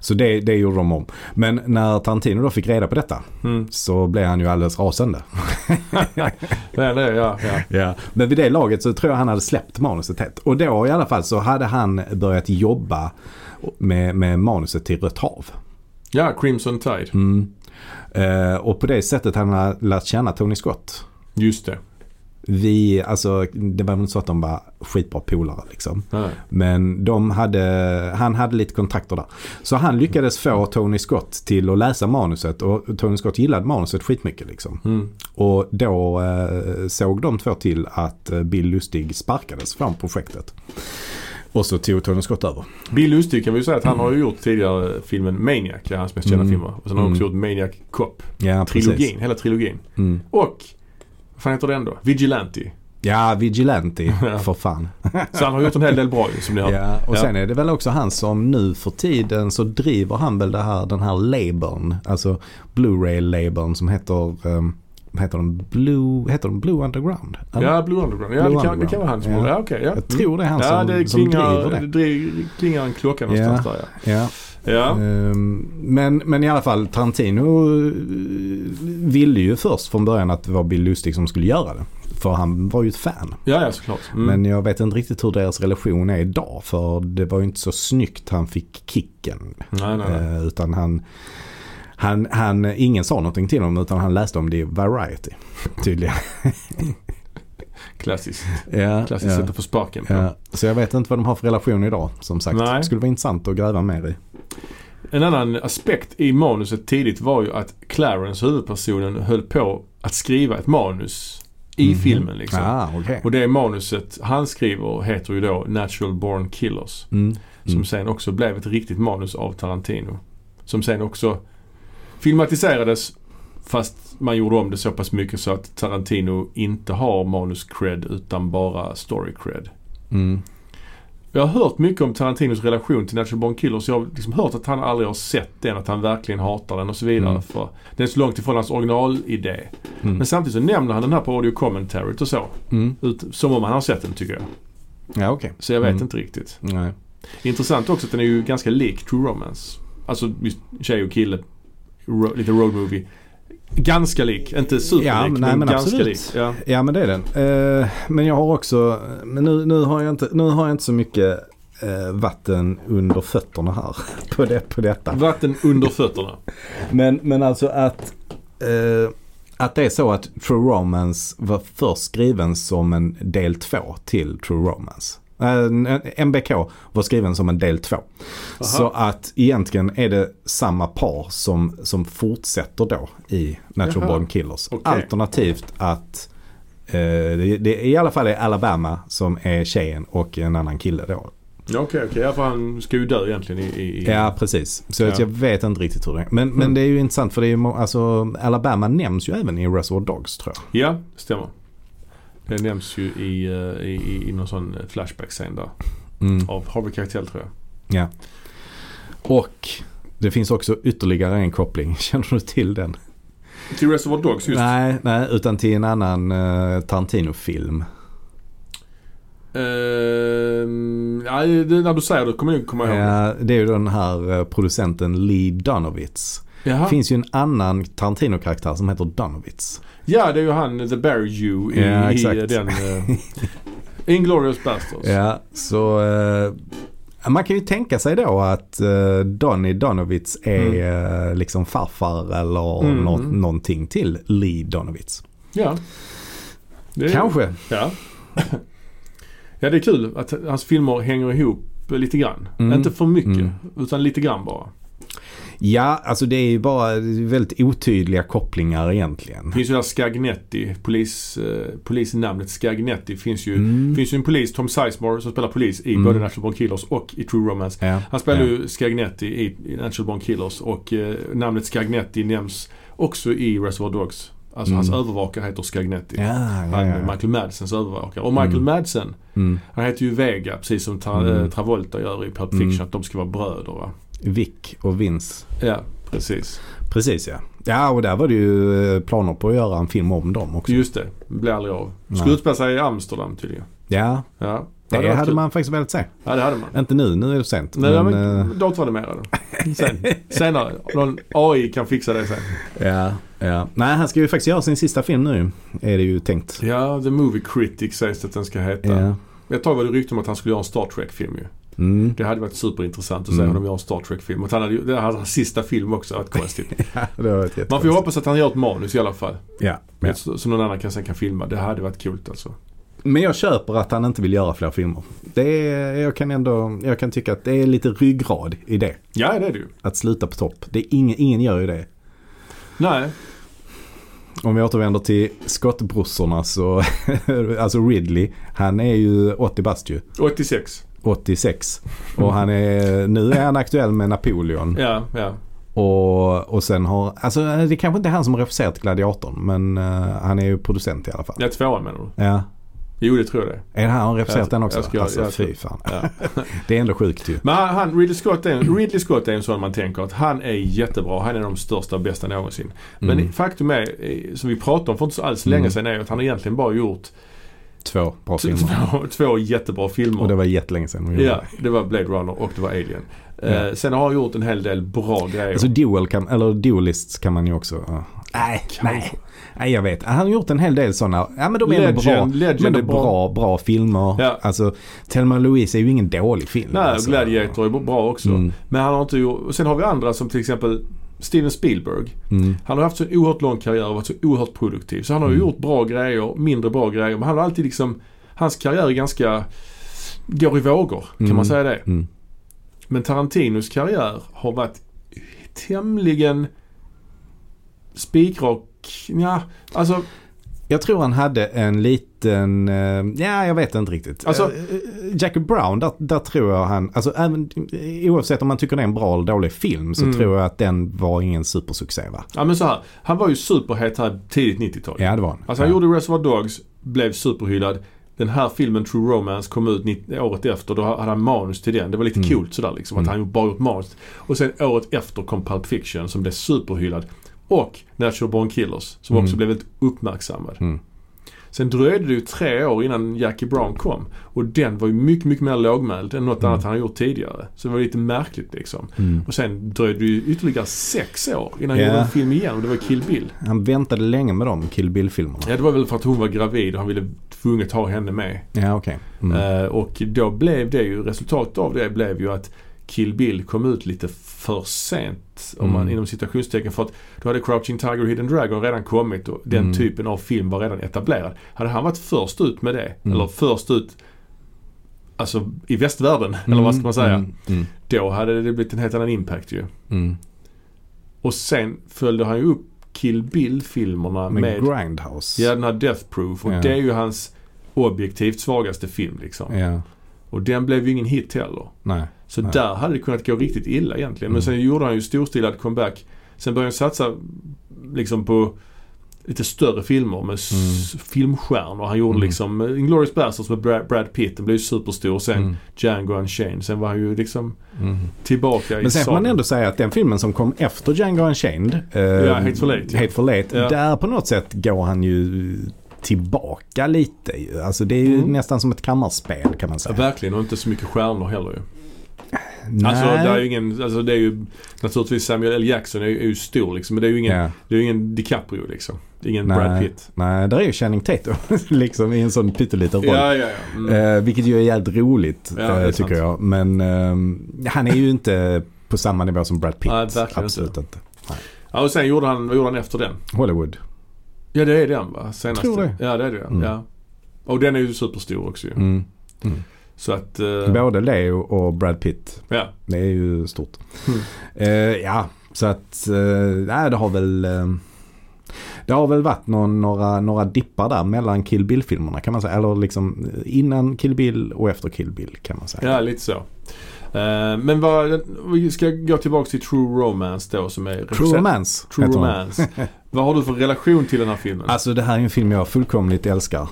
B: Så det, det gjorde de om. Men när Tarantino då fick reda på detta
A: Mm.
B: så blev han ju alldeles rasande.
A: Ja, det, ja, ja.
B: Ja, men vid det laget så tror jag han hade släppt manuset helt. Och då i alla fall så hade han börjat jobba med, med manuset till Rött hav. Mm.
A: ja, Crimson Tide.
B: Eh, och på det sättet hade han lärt känna Tony Scott.
A: Just det.
B: Vi, alltså det var väl inte så att de var skitbra polare liksom.
A: Nej.
B: Men de hade, han hade lite kontakter där. Så han lyckades få Tony Scott till att läsa manuset och Tony Scott gillade manuset skitmycket liksom.
A: Mm.
B: Och då eh, såg de två till att eh, Bill Lustig sparkades från projektet. Och så tog Tony Scott över.
A: Bill Lustig kan vi ju säga att han har ju gjort tidigare filmen Maniac. Det är hans mest kända
B: Mm.
A: filmer. Och sen har han också
B: Mm.
A: gjort Maniac Cop.
B: Ja,
A: Trilogin.
B: precis.
A: Hela trilogin.
B: Mm.
A: Och, vad fan heter den då? Vigilante.
B: Ja, Vigilante
A: Ja.
B: för fan.
A: Så han har gjort en hel del bra ju, som ni hör.
B: Ja, och
A: Ja.
B: sen är det väl också han som nu för tiden så driver han väl det här, den här labeln. Alltså Blu-ray-labeln som heter, um, heter den? Blue, heter den Blue Underground? Eller?
A: Ja, Blue Underground. Ja,
B: Blue
A: det, kan, det kan vara han som
B: Underground.
A: ja. ja, okej. ja.
B: Jag tror det är han
A: Mm. Ja,
B: som,
A: det
B: som
A: klingar,
B: driver
A: det.
B: det.
A: dri- klingar en klocka någonstans där
B: Ja.
A: ja. Ja.
B: Ehm, men, men i alla fall Tarantino eh, ville ju först från början att det var Bill Lustig som skulle göra det. För han var ju ett fan.
A: ja, ja såklart. Mm.
B: Men jag vet inte riktigt hur deras relation är idag. För det var ju inte så snyggt han fick kicken.
A: nej, nej, nej.
B: Eh, utan han, han, han, ingen sa någonting till honom utan han läste om det i Variety. Tydligen.
A: Klassiskt.
B: ja,
A: Klassiskt sätt att få sparken på.
B: ja. Så jag vet inte vad de har för relation idag som sagt.
A: Nej.
B: Det skulle vara intressant att gräva mer i.
A: En annan aspekt i manuset tidigt var ju att Clarence, huvudpersonen, höll på att skriva ett manus i
B: Mhm.
A: filmen liksom.
B: Ah, okej.
A: Och det manuset han skriver heter ju då Natural Born Killers.
B: Mm.
A: Som
B: Mm.
A: sen också blev ett riktigt manus av Tarantino. Som sen också filmatiserades fast man gjorde om det så pass mycket så att Tarantino inte har manus-cred utan bara story-cred.
B: Mm.
A: Jag har hört mycket om Tarantinos relation till Natural Born Killers. Jag har liksom hört att han aldrig har sett den, att han verkligen hatar den och så vidare.
B: Mm.
A: För den är så långt ifrån hans originalidé.
B: Mm.
A: Men samtidigt så nämner han den här på audio commentary och så.
B: Mm.
A: Ut, som om han har sett den tycker jag.
B: Ja, okej.
A: Så jag vet
B: Mm.
A: inte riktigt.
B: Nej.
A: Intressant också att den är ju ganska lik True Romance. Alltså just tjej och kille. Ro, lite road movie. Ganska lik. Inte superlik
B: Ja, men-
A: men,
B: nej, men
A: ganska
B: absolut.
A: lik. Ja.
B: Ja men det är den. Eh, men jag har också, men nu, nu, har jag inte, nu har jag inte så mycket eh, vatten under fötterna här på, det, på detta.
A: Vatten under fötterna.
B: Men, men alltså att, eh, att det är så att True Romance var först skriven som en del två till True Romance. Eh, MBK var skriven som en del två. Så att egentligen är det samma par som, som fortsätter då i Natural
A: Jaha.
B: Born Killers.
A: Okej.
B: Alternativt att eh, det, det i alla fall är Alabama som är tjejen och en annan kille då.
A: Ja, Okej, okej. Ja, för han ska ju dö egentligen i... i i-
B: Ja, precis. Så att
A: Ja. Mm.
B: jag vet inte riktigt hur det är. Men, men det är ju intressant för det är ju, må- alltså, Alabama nämns ju även i Reservoir Dogs tror jag.
A: Ja, stämmer. Det nämns ju i, eh, i, i, i någon sån flashback-scen där.
B: Mm.
A: Av Harvey Keitel tror jag.
B: Ja. Och det finns också ytterligare en koppling. Känner du till den?
A: Till Reservoir Dogs just.
B: Nej, nej, utan till en annan eh, Tarantino-film.
A: Ehm, ja, det, när du säger det kommer jag komma ihåg. Ja.
B: Ja, det är ju den här eh, producenten Lee Donovitz. Det
A: Jaha.
B: finns ju en annan Tarantino-karaktär som heter Donovitz.
A: Ja, det är ju han The Bear You i,
B: Ja,
A: i
B: exakt.
A: den... Uh, Inglourious Basterds.
B: Ja, så eh, man kan ju tänka sig då att eh, Donny Donovitz är eh, liksom farfar eller
A: Mm.
B: nå- någonting till Lee Donovitz.
A: Ja. Det är-
B: Kanske.
A: Ja. ja, det är kul att hans filmer hänger ihop lite grann.
B: Mm.
A: Inte för mycket,
B: Mm.
A: utan lite grann bara.
B: Ja, alltså det är ju bara väldigt otydliga kopplingar egentligen.
A: Det finns ju det här Skagnetti, polis, eh, polisnamnet Skagnetti finns ju. Det
B: Mm.
A: finns ju en polis, Tom Sizemore, som spelar polis i
B: Mm.
A: både Natural Born Killers och i True Romance.
B: Ja,
A: Han spelar
B: ja.
A: ju Skagnetti i, i Natural Born Killers och eh, namnet Skagnetti nämns också i Reservoir Dogs. Alltså hans
B: Mm.
A: övervakare heter Skagnetti.
B: Ja, ja,
A: Han är
B: ja.
A: Michael Madsens övervakare. Och Michael
B: Mm.
A: Madsen,
B: Mm.
A: han heter ju Vega precis som Tra-
B: Mm.
A: eh, Travolta gör i Pulp
B: Mm.
A: Fiction. Att de ska vara bröder va?
B: Vic och Vince.
A: Ja, precis.
B: Precis ja. Ja, och där var det ju eh, planer på att göra en film om dem också.
A: Just det, blir aldrig av. Skulle
B: Nej.
A: utspela sig i Amsterdam tydligen.
B: Ja,
A: Ja,
B: det
A: varit
B: hade
A: kul.
B: man faktiskt velat se.
A: Ja, det hade man.
B: Inte nu, nu är det sent.
A: Nej, men,
B: eh,
A: datoranimerade. Sen, senare. Någon AI kan fixa det sen.
B: Ja, ja. Nej, han ska ju faktiskt göra sin sista film nu. Är det ju tänkt.
A: Ja, The Movie Critic sägs det att den ska heta.
B: Ja.
A: Ett tag var det rykte om att han skulle göra en Star Trek-film ju.
B: Mm.
A: Det hade varit superintressant att se
B: Mm.
A: honom göra en Star Trek-film. Och han hade, ju- det hade hans sista film också, varit konstigt.
B: Ja, det var ett
A: Man får ju hoppas att han gör ett manus i alla fall.
B: Ja, ja.
A: Så, så någon annan kan, sen kan filma. Det hade varit coolt alltså.
B: Men jag köper att han inte vill göra fler filmer. Det är, jag kan ändå, jag kan tycka att det är lite ryggrad i det.
A: Ja, det är det ju.
B: Att sluta på topp. Det är ingen, ingen gör ju det.
A: Nej,
B: Om vi återvänder till skottbrorsorna så, alltså Ridley, han är ju 80 bast ju.
A: 86.
B: 86. Och han är, nu är han aktuell med Napoleon.
A: Ja, ja.
B: Och, och sen har, alltså det kanske inte är han som har regisserat Gladiatorn men eh, han är ju producent i alla fall.
A: Ja, tvåan menar du?
B: Ja.
A: Jo, det tror jag det.
B: Är det han som har regisserat
A: Jag-
B: den också?
A: jag skulle-
B: alltså
A: jag-
B: fy fan.
A: Ja.
B: Det är ändå sjukt ju.
A: Men han, han, Ridley, Scott är
B: Mm.
A: en, Ridley Scott är en sån man tänker att han är jättebra. Han är de största och bästa någonsin. Men
B: Mm.
A: faktum är, eh, som vi pratade om för inte så alls
B: Mm.
A: länge sedan, är att han egentligen bara gjort
B: Två bra
A: t-
B: filmer.
A: två, Typ två jättebra filmer.
B: Och det var jättelänge sedan vi gjorde
A: Ja,
B: det.
A: det var Blade Runner och det var Alien.
B: Mm. Ja.
A: Eh, sen har han gjort en hel del bra grejer.
B: Alltså dual kan, eller dualists kan man ju också. ja. Nej, nej. Nej jag vet. Han har gjort en hel del sådana. Ja men de är ändå bra.
A: Legend, Legend
B: Men ändå
A: är bra.
B: bra, bra filmer.
A: Ja.
B: Alltså Thelma och Louise är ju ingen dålig film.
A: Nej,
B: alltså.
A: Gladiator är bra också.
B: Mm.
A: Men han har inte gjort... och Sen har vi andra som till exempel Steven Spielberg.
B: Mm.
A: Han har haft så en oerhört lång karriär och varit så oerhört produktiv. Så han har ju
B: Mm.
A: gjort bra grejer, mindre bra grejer. Men han har alltid liksom... Hans karriär är ganska... Går i vågor, kan
B: Mm.
A: man säga det?
B: Mm.
A: Men Tarantinos karriär har varit tämligen spikrak. Ja, alltså,
B: Jag tror han hade en liten, eh, ja jag vet inte riktigt.
A: Alltså-
B: Alltså, Jackie Brown, där, där tror jag han, alltså även, oavsett om man tycker det är en bra eller dålig film så
A: Mm.
B: tror jag att den var ingen supersuccé va?
A: ja men så här. Han var ju superhet här tidigt 90-tal.
B: Ja det var han.
A: Alltså han
B: ja.
A: gjorde Reservoir Dogs, blev superhyllad. Den här filmen True Romance kom ut 90 året efter. Då hade han manus till den. Det var lite
B: Mm.
A: coolt sådär liksom. Att
B: Mm.
A: han bara gjort manus. Och sen året efter kom Pulp Fiction som blev superhyllad. Och Natural Born Killers som också
B: Mm.
A: blev väldigt uppmärksammad.
B: Mm.
A: Sen dröjde det ju tre år innan Jackie Brown kom. Och den var ju mycket, mycket mer lågmäld än något
B: Mm.
A: annat han har gjort tidigare. Så det var lite märkligt liksom.
B: Mm.
A: Och sen dröjde det ju ytterligare sex år innan han
B: Ja.
A: gjorde en film igen och det var Kill Bill.
B: Han väntade länge med de Kill Bill-filmerna.
A: Ja, det var väl för att hon var gravid och han ville tvunget ha henne med.
B: Ja okej. Mm.
A: Eh, och då blev det ju, resultatet av det blev ju att Kill Bill kom ut lite för sent. Om man
B: Mm.
A: inom citationstecken för att då hade Crouching Tiger Hidden Dragon redan kommit och den
B: Mm.
A: typen av film var redan etablerad. Hade han varit först ut med det,
B: Mm.
A: eller först ut alltså i västvärlden, eller vad ska man säga.
B: Mm. Mm.
A: Då hade det blivit en helt annan impact ju.
B: Mm.
A: Och sen följde han ju upp Kill Bill-filmerna
B: Med,
A: med
B: Grindhouse.
A: Ja, den här Death Proof. Och
B: Ja.
A: det är ju hans objektivt svagaste film liksom.
B: Ja.
A: Och den blev ju ingen hit heller.
B: Nej.
A: Så
B: Nej.
A: där hade det kunnat gå riktigt illa egentligen. Men
B: Mm.
A: sen gjorde han ju storstilad comeback. Sen började han satsa liksom på lite större filmer med s- filmstjärnor. Han gjorde
B: Mm.
A: liksom eh, Inglourious Basterds med Brad, Brad Pitt. Den blev ju superstor. Sen
B: Mm.
A: Django Unchained. Sen var han ju liksom
B: Mm.
A: tillbaka i
B: Men sen får
A: sagan.
B: man ändå säga att den filmen som kom efter Django Unchained. Eh,
A: Hateful Eight, ja.
B: Hateful Eight.
A: Ja.
B: Där på något sätt går han ju tillbaka lite ju. Alltså det är ju
A: Mm.
B: nästan som ett kammarspel kan man
A: Ja,
B: säga.
A: verkligen och inte så mycket stjärnor heller ju.
B: Nej.
A: Alltså, det är ju ingen, alltså det är ju naturligtvis Samuel L. Jackson är ju, är ju stor liksom. Men det är ju ingen,
B: Ja.
A: det är ju ingen DiCaprio liksom. Ingen
B: Nej.
A: Brad Pitt.
B: Nej, där är ju Channing Tatum liksom i en sån pytteliten roll.
A: Ja, ja, ja. Mm.
B: Eh, vilket ju är jävligt roligt
A: Ja, det är
B: eh,
A: sant.
B: tycker jag. Men ehm, han är ju inte på samma nivå som Brad Pitt.
A: Nej, verkligen
B: Absolut inte.
A: Ja, och sen gjorde han, vad gjorde han efter den?
B: Hollywood.
A: Ja, det är den va? Senaste.
B: Tror det.
A: Ja, det är det.
B: Mm.
A: Ja. Och den är ju superstor också ju.
B: Mm.
A: Så att... eh,
B: Både Leo och Brad Pitt
A: ja.
B: Det är ju stort.
A: Mm.
B: Eh, ja, så att eh, nej, det har väl eh, det har väl varit någon, några, några dippar där mellan Kill Bill-filmerna kan man säga. Eller liksom eh, innan Kill Bill och efter Kill Bill kan man säga.
A: ja, lite så. Eh, men vad, vi ska gå tillbaka till True Romance då som är...
B: True Romance
A: True
B: heter den.
A: Romance. vad har du för relation till den här filmen?
B: Alltså det här är en film jag fullkomligt älskar.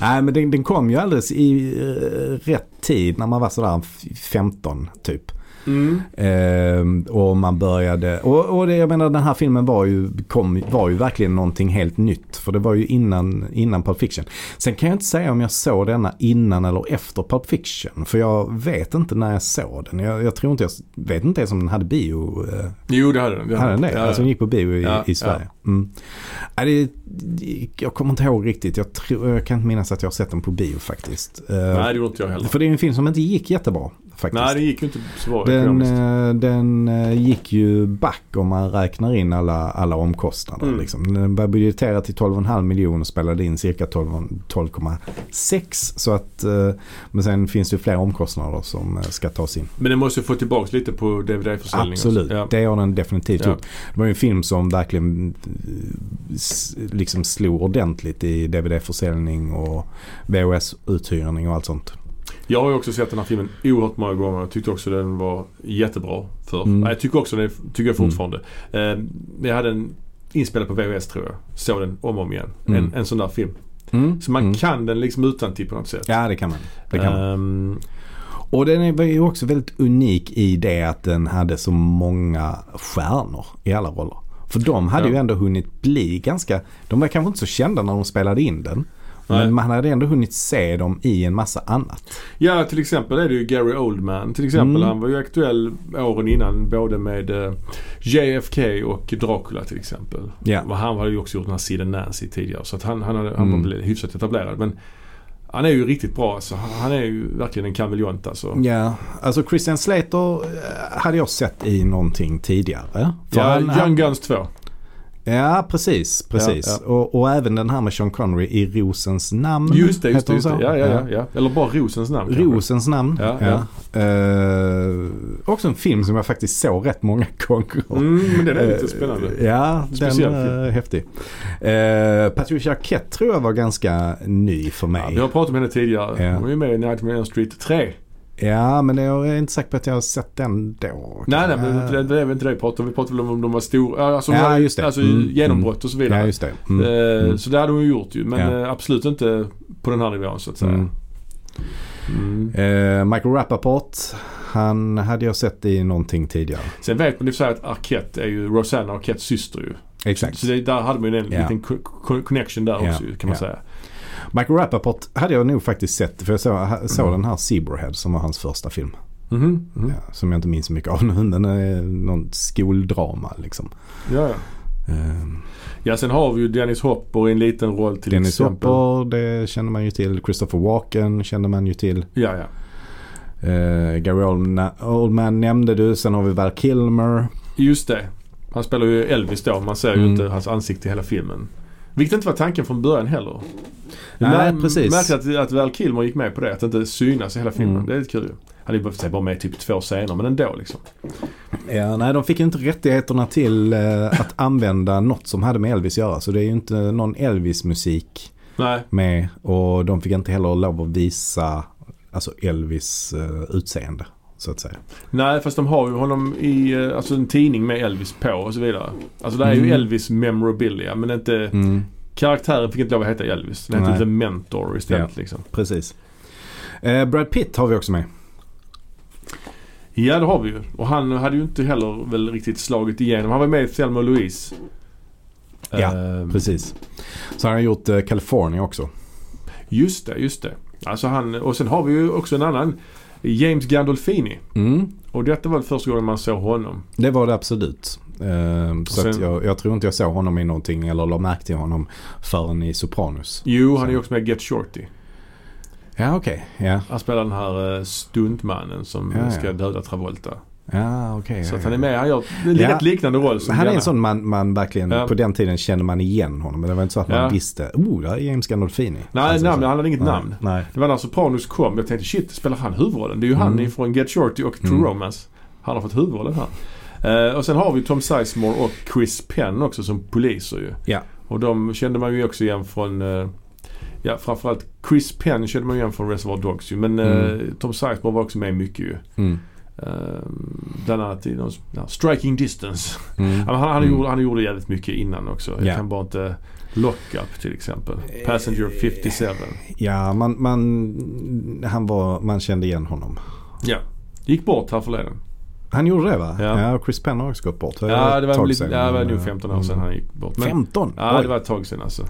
B: Nej men den, den kom ju alldeles i eh, rätt tid när man var sådär f- 15 typ.
A: Mm.
B: Ehm, och man började, och, och det, jag menar den här filmen var ju, kom, var ju verkligen någonting helt nytt. För det var ju innan, innan Pulp Fiction. Sen kan jag inte säga om jag såg denna innan eller efter Pulp Fiction. För jag vet inte när jag såg den. Jag, jag tror inte, jag s- vet inte ens om den hade bio. eh,
A: Jo, det hade den. Det
B: hade den det?
A: Ja,
B: Alltså den gick på bio i,
A: Ja,
B: i Sverige. Mm. Ja, det, det- jag kommer inte ihåg riktigt. Jag, tror, jag kan inte minnas att jag har sett den på bio faktiskt. Eh,
A: Nej, det gjorde inte jag heller.
B: för det är en film som inte gick jättebra faktiskt.
A: Nej, det gick ju inte så bra
B: Den,
A: ekonomiskt.
B: eh, den eh, gick ju back om man räknar in alla, alla omkostnader.
A: Mm.
B: Liksom. Den var budgeterad till 12,5 miljoner och spelade in cirka 12 12,6. så att, eh, men sen finns det ju fler omkostnader som eh, ska tas in.
A: Men den måste ju få tillbaka lite på DVD-försäljningen.
B: Absolut,
A: Ja.
B: det har den definitivt
A: Ja.
B: gjort. Det var ju en film som verkligen eh, s- liksom slog ordentligt i DVD-försäljning och VHS-uthyrning och allt sånt.
A: Jag har ju också sett den här filmen oerhört många gånger. Jag tyckte också den var jättebra förr.
B: Mm.
A: Nej, Jag tycker också den, tycker jag fortfarande. Eh, men jag hade den inspelad på VHS tror jag. Såg den om och om igen. En,
B: Mm.
A: en sån där film. Så man
B: Mm.
A: kan den liksom utan till på något sätt.
B: Ja, det kan man. Det kan man.
A: Ehm,
B: Och den är- var ju också väldigt unik i det att den hade så många stjärnor i alla roller. För de hade
A: Ja.
B: ju ändå hunnit bli ganska, de var kanske inte så kända när de spelade in den.
A: Nej.
B: Men man hade ändå hunnit se dem i en massa annat.
A: Ja, till exempel är det ju Gary Oldman. Till exempel,
B: Mm.
A: han var ju aktuell åren innan både med eh, JFK och Dracula till exempel.
B: Ja.
A: Och han hade ju också gjort den här Sidan Nancy tidigare så att han, han, hade, han
B: Mm.
A: var väl hyfsat etablerad. Men han är ju riktigt bra alltså. Han han är ju verkligen en kameleont alltså.
B: Ja, alltså Christian Slater eh, hade jag sett i någonting tidigare. För
A: Ja,
B: han- han- Mm,
A: Young Guns 2.
B: ja precis. precis.
A: Ja,
B: Och, och även den här med Sean Connery i Rosens namn.
A: Just det, just det.
B: heter hon
A: Just det.
B: så?
A: Ja, ja, ja, ja. Eller bara Rosens namn kanske.
B: Rosens namn.
A: Ja,
B: Eh, också en film som jag faktiskt såg rätt många gånger.
A: Mm, men den är lite spännande.
B: Eh, Ja, den
A: Speciell film.
B: är häftig. Eh, Patricia Arquette tror jag var ganska ny för
A: Ja,
B: mig.
A: vi har pratat om henne tidigare.
B: Ja.
A: Hon är ju med i Nightmare on Elm Street 3.
B: Ja, men jag är inte säker på att jag har sett den då.
A: Nej, nej, men
B: Eh,
A: det, det är väl inte det vi pratar om. Vi pratar väl om om de var stora. Alltså,
B: Ja,
A: hon hade-
B: just det.
A: alltså
B: Mm,
A: genombrott och så vidare.
B: Ja, just det. Mm.
A: Eh,
B: mm.
A: Så det hade hon ju gjort ju. Men
B: Ja.
A: eh, absolut inte på den här nivån så att säga.
B: Mm.
A: Mm.
B: Eh, Michael Rappaport, han hade jag sett i någonting tidigare.
A: Sen vet man ju så här att Arquette är ju Rosanna Arquettes syster ju.
B: Exakt.
A: Så det, där hade man ju en
B: Ja.
A: liten co- co- connection där
B: Ja,
A: också ju, kan man
B: ja.
A: säga.
B: Michael Rappaport hade jag nog faktiskt sett, för jag såg, såg
A: Mm.
B: den här Zebrahead som var hans första film.
A: Mhm, mhm.
B: Ja, som jag inte minns så mycket av nu. Den är någon skoldrama liksom.
A: Ja, ja.
B: Eh,
A: ja, sen har vi ju Dennis Hopper i en liten roll till
B: Dennis
A: exempel.
B: Hopper, det känner man ju till. Christopher Walken kände man ju till.
A: Ja, ja.
B: Eh, Gary Oldman, Oldman nämnde du. Sen har vi Val Kilmer.
A: Just det. Han spelar ju Elvis då. Man ser ju
B: Mm.
A: inte hans ansikte i hela filmen. Vilket inte var tanken från början heller.
B: Nej,
A: Mär-
B: precis.
A: Märkligt att, att Val Kilmer gick med på det. Att inte synas i hela filmen.
B: Mm.
A: Det är lite kul ju. Han hade ju behövt sig bara med i typ två scener men ändå liksom.
B: Ja, nej, de fick ju inte rättigheterna till eh, att använda något som hade med Elvis att göra. Så det är ju inte någon Elvis-musik
A: Nej.
B: med. Och de fick inte heller lov att visa alltså Elvis eh, utseende. Så att säga.
A: Nej fast de har ju honom i eh, alltså en tidning med Elvis på och så vidare. Alltså det är ju
B: Mm.
A: Elvis memorabilia men inte
B: Mm.
A: karaktären fick inte lov att heta Elvis. Den hette
B: Nej.
A: The Mentor istället liksom.
B: Precis. Eh, Brad Pitt har vi också med.
A: Ja det har vi ju. Och han hade ju inte heller väl riktigt slagit igenom. Han var med i Thelma och Louise.
B: Ja,
A: Ehm,
B: Precis. Så han har gjort eh, California också.
A: Just det, just det. Alltså han, och sen har vi ju också en annan. James Gandolfini.
B: Mm.
A: Och detta var första gången man såg honom.
B: Det var det absolut. Eh, så
A: Sen-
B: att jag, jag tror inte jag såg honom i någonting eller la märke till honom förrän i Sopranos.
A: Jo, han är
B: Sen.
A: ju också med i Get Shorty.
B: Ja, okej. Ja,
A: Han spelar den här eh, stuntmannen som
B: Ja, ja.
A: ska döda Travolta.
B: ja okej.
A: Så
B: ja,
A: att
B: ja.
A: han är med. Han gör en
B: Ja.
A: rätt liknande roll som
B: Han är
A: Janne.
B: en sån man, man verkligen,
A: Ja.
B: på den tiden kände man igen honom. Men det var inte så att man
A: Ja.
B: visste, oh, där är James Gandolfini.
A: Nej,
B: Alltså,
A: namn,
B: så-
A: han hade inget
B: nej,
A: namn.
B: Nej.
A: Det var när Sopranos kom. Jag tänkte shit, spelar han huvudrollen? Det är ju han
B: Mm.
A: ifrån Get Shorty och True
B: Mm.
A: Romance. Han har fått huvudrollen här. Eh, och sen har vi Tom Sizemore och Chris Penn också som poliser ju.
B: Ja.
A: Och de kände man ju också igen från eh, Ja framförallt Chris Penn kände man ju igen från Reservoir Dogs ju. Men
B: Mm.
A: eh, Tom Sizemore var också med mycket ju.
B: Mm.
A: Eh, bland annat i någon, ja, Striking Distance.
B: Mm.
A: Ja, men Han, han,
B: Mm.
A: gjorde, han gjorde jävligt mycket innan också. Jag
B: Ja.
A: kan bara inte Lockup till exempel. Passenger 57.
B: Ja, man, man, han var, man kände igen honom. Eh,
A: Ja. Gick bort här förleden.
B: Han gjorde det va?
A: Ja.
B: Ja, Chris Penn har också gått bort. eh,
A: Ja, det
B: ett
A: var,
B: tag
A: lite,
B: sedan,
A: ja, det var
B: men,
A: nog
B: eh,
A: 15 år sedan han gick bort. Men,
B: 15?
A: Ja,
B: Oj.
A: det var ett tag sedan alltså.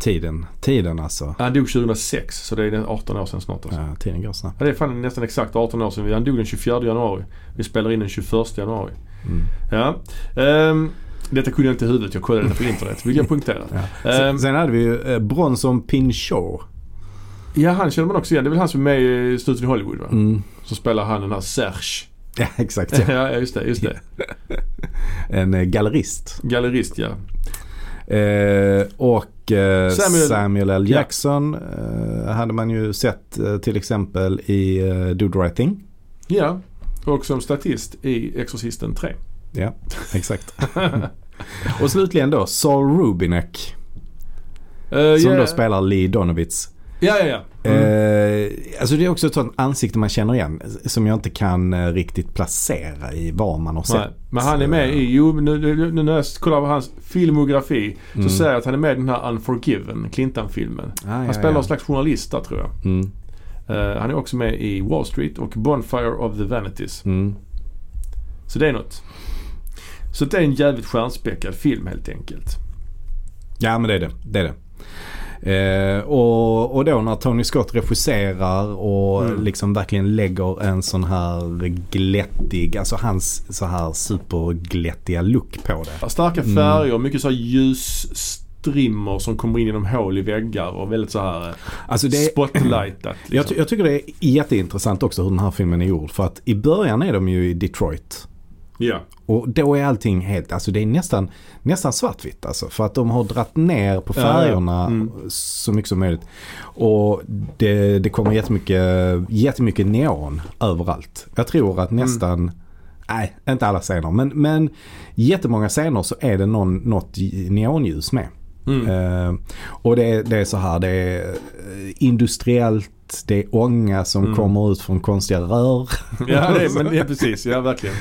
B: Tiden, tiden alltså.
A: Han dog 2006 så det är 18 år sedan snart alltså.
B: Ja, tiden går snabbt.
A: Ja, det är fan nästan exakt 18 år sedan. Vi- Han dog den 24 januari. Vi spelar in den 21 januari.
B: Mm.
A: Ja. Ehm, detta kunde jag inte i huvudet. Jag kollade detta på internet. Vill jag punktera.
B: Ja.
A: Ehm,
B: Sen, sen hade vi ju eh, Bronson Pinchot.
A: Ja, han känner man också igen. Det är väl han som är med i Snuten i Hollywood va?
B: Mm.
A: Så spelar han den här Serge.
B: Ja, exakt. Ja.
A: Ja, just det. Just det.
B: En eh, gallerist.
A: Gallerist ja.
B: Eh, och eh,
A: Samuel-
B: Samuel, L.
A: Ja.
B: Jackson eh, hade man ju sett eh, till exempel i eh, Dude Right Thing.
A: Ja. Och som statist i Exorcisten 3.
B: Ja, exakt. och slutligen då Saul Rubinek
A: Eh,
B: som
A: ja,
B: då spelar Lee Donovitz.
A: Ja, ja, ja. Mm.
B: Eh, alltså det är också ett sånt ansikte man känner igen som jag inte kan eh, riktigt placera i var man har
A: Nej,
B: sett.
A: men han är med i, jo nu, nu, nu när jag kollar på hans filmografi
B: Mm.
A: så säger jag att han är med i den här Unforgiven, Clintan-filmen.
B: Ah, ja,
A: Han spelar
B: ja.
A: någon slags journalist där tror jag.
B: Mm,
A: Eh, han är också med i Wall Street och Bonfire of the Vanities.
B: mm.
A: Så det är något. Så det är en jävligt stjärnspäckad film helt enkelt.
B: Ja men det är det. det, är det. Eh, och, och då när Tony Scott regisserar och
A: Mm.
B: liksom verkligen lägger en sån här glättig, alltså hans så här superglättiga look på det.
A: Starka
B: Mm.
A: färger, mycket så här ljusstrimmor som kommer in genom hål i väggar och väldigt så här eh,
B: Alltså det är,
A: spotlightat. Liksom.
B: jag, ty- jag tycker det är jätteintressant också hur den här filmen är gjord. För att i början är de ju i Detroit.
A: ja.
B: Och då är allting helt, alltså det är nästan, nästan svartvitt alltså. För att de har dratt ner på
A: Ja, ja.
B: färgerna
A: Mm.
B: så mycket som möjligt. Och det, det kommer jättemycket, jättemycket neon överallt. Jag tror
A: Mm.
B: att nästan, nej inte alla scener, men, men jättemånga scener så är det någon, något neonljus med.
A: Mm.
B: Eh, och det, det är så här, det är eh, industriellt, det är ånga som
A: Mm.
B: kommer ut från konstiga rör.
A: Ja, det, är- men, ja precis. Ja, verkligen.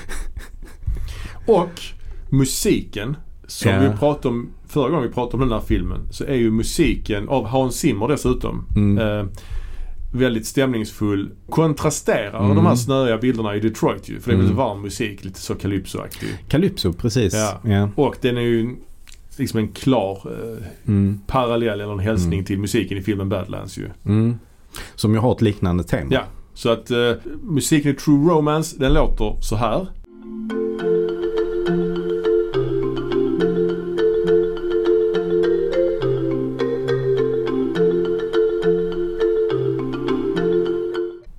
A: Och musiken, som
B: Ja.
A: vi pratade om förra gången vi pratade om den här filmen, så är ju musiken av Hans Zimmer dessutom
B: Mm.
A: eh, väldigt stämningsfull. Kontrasterar
B: Mm.
A: de här snöiga bilderna i Detroit ju. För det är väldigt
B: Mm.
A: varm musik, lite så calypsoaktig.
B: Calypso, precis.
A: Ja.
B: Ja.
A: Och den är ju liksom en klar eh,
B: Mm.
A: parallell eller en hälsning
B: Mm.
A: till musiken i filmen Badlands ju.
B: Mm. Som ju har ett liknande tema.
A: Ja, så att eh, musiken i True Romance den låter så här.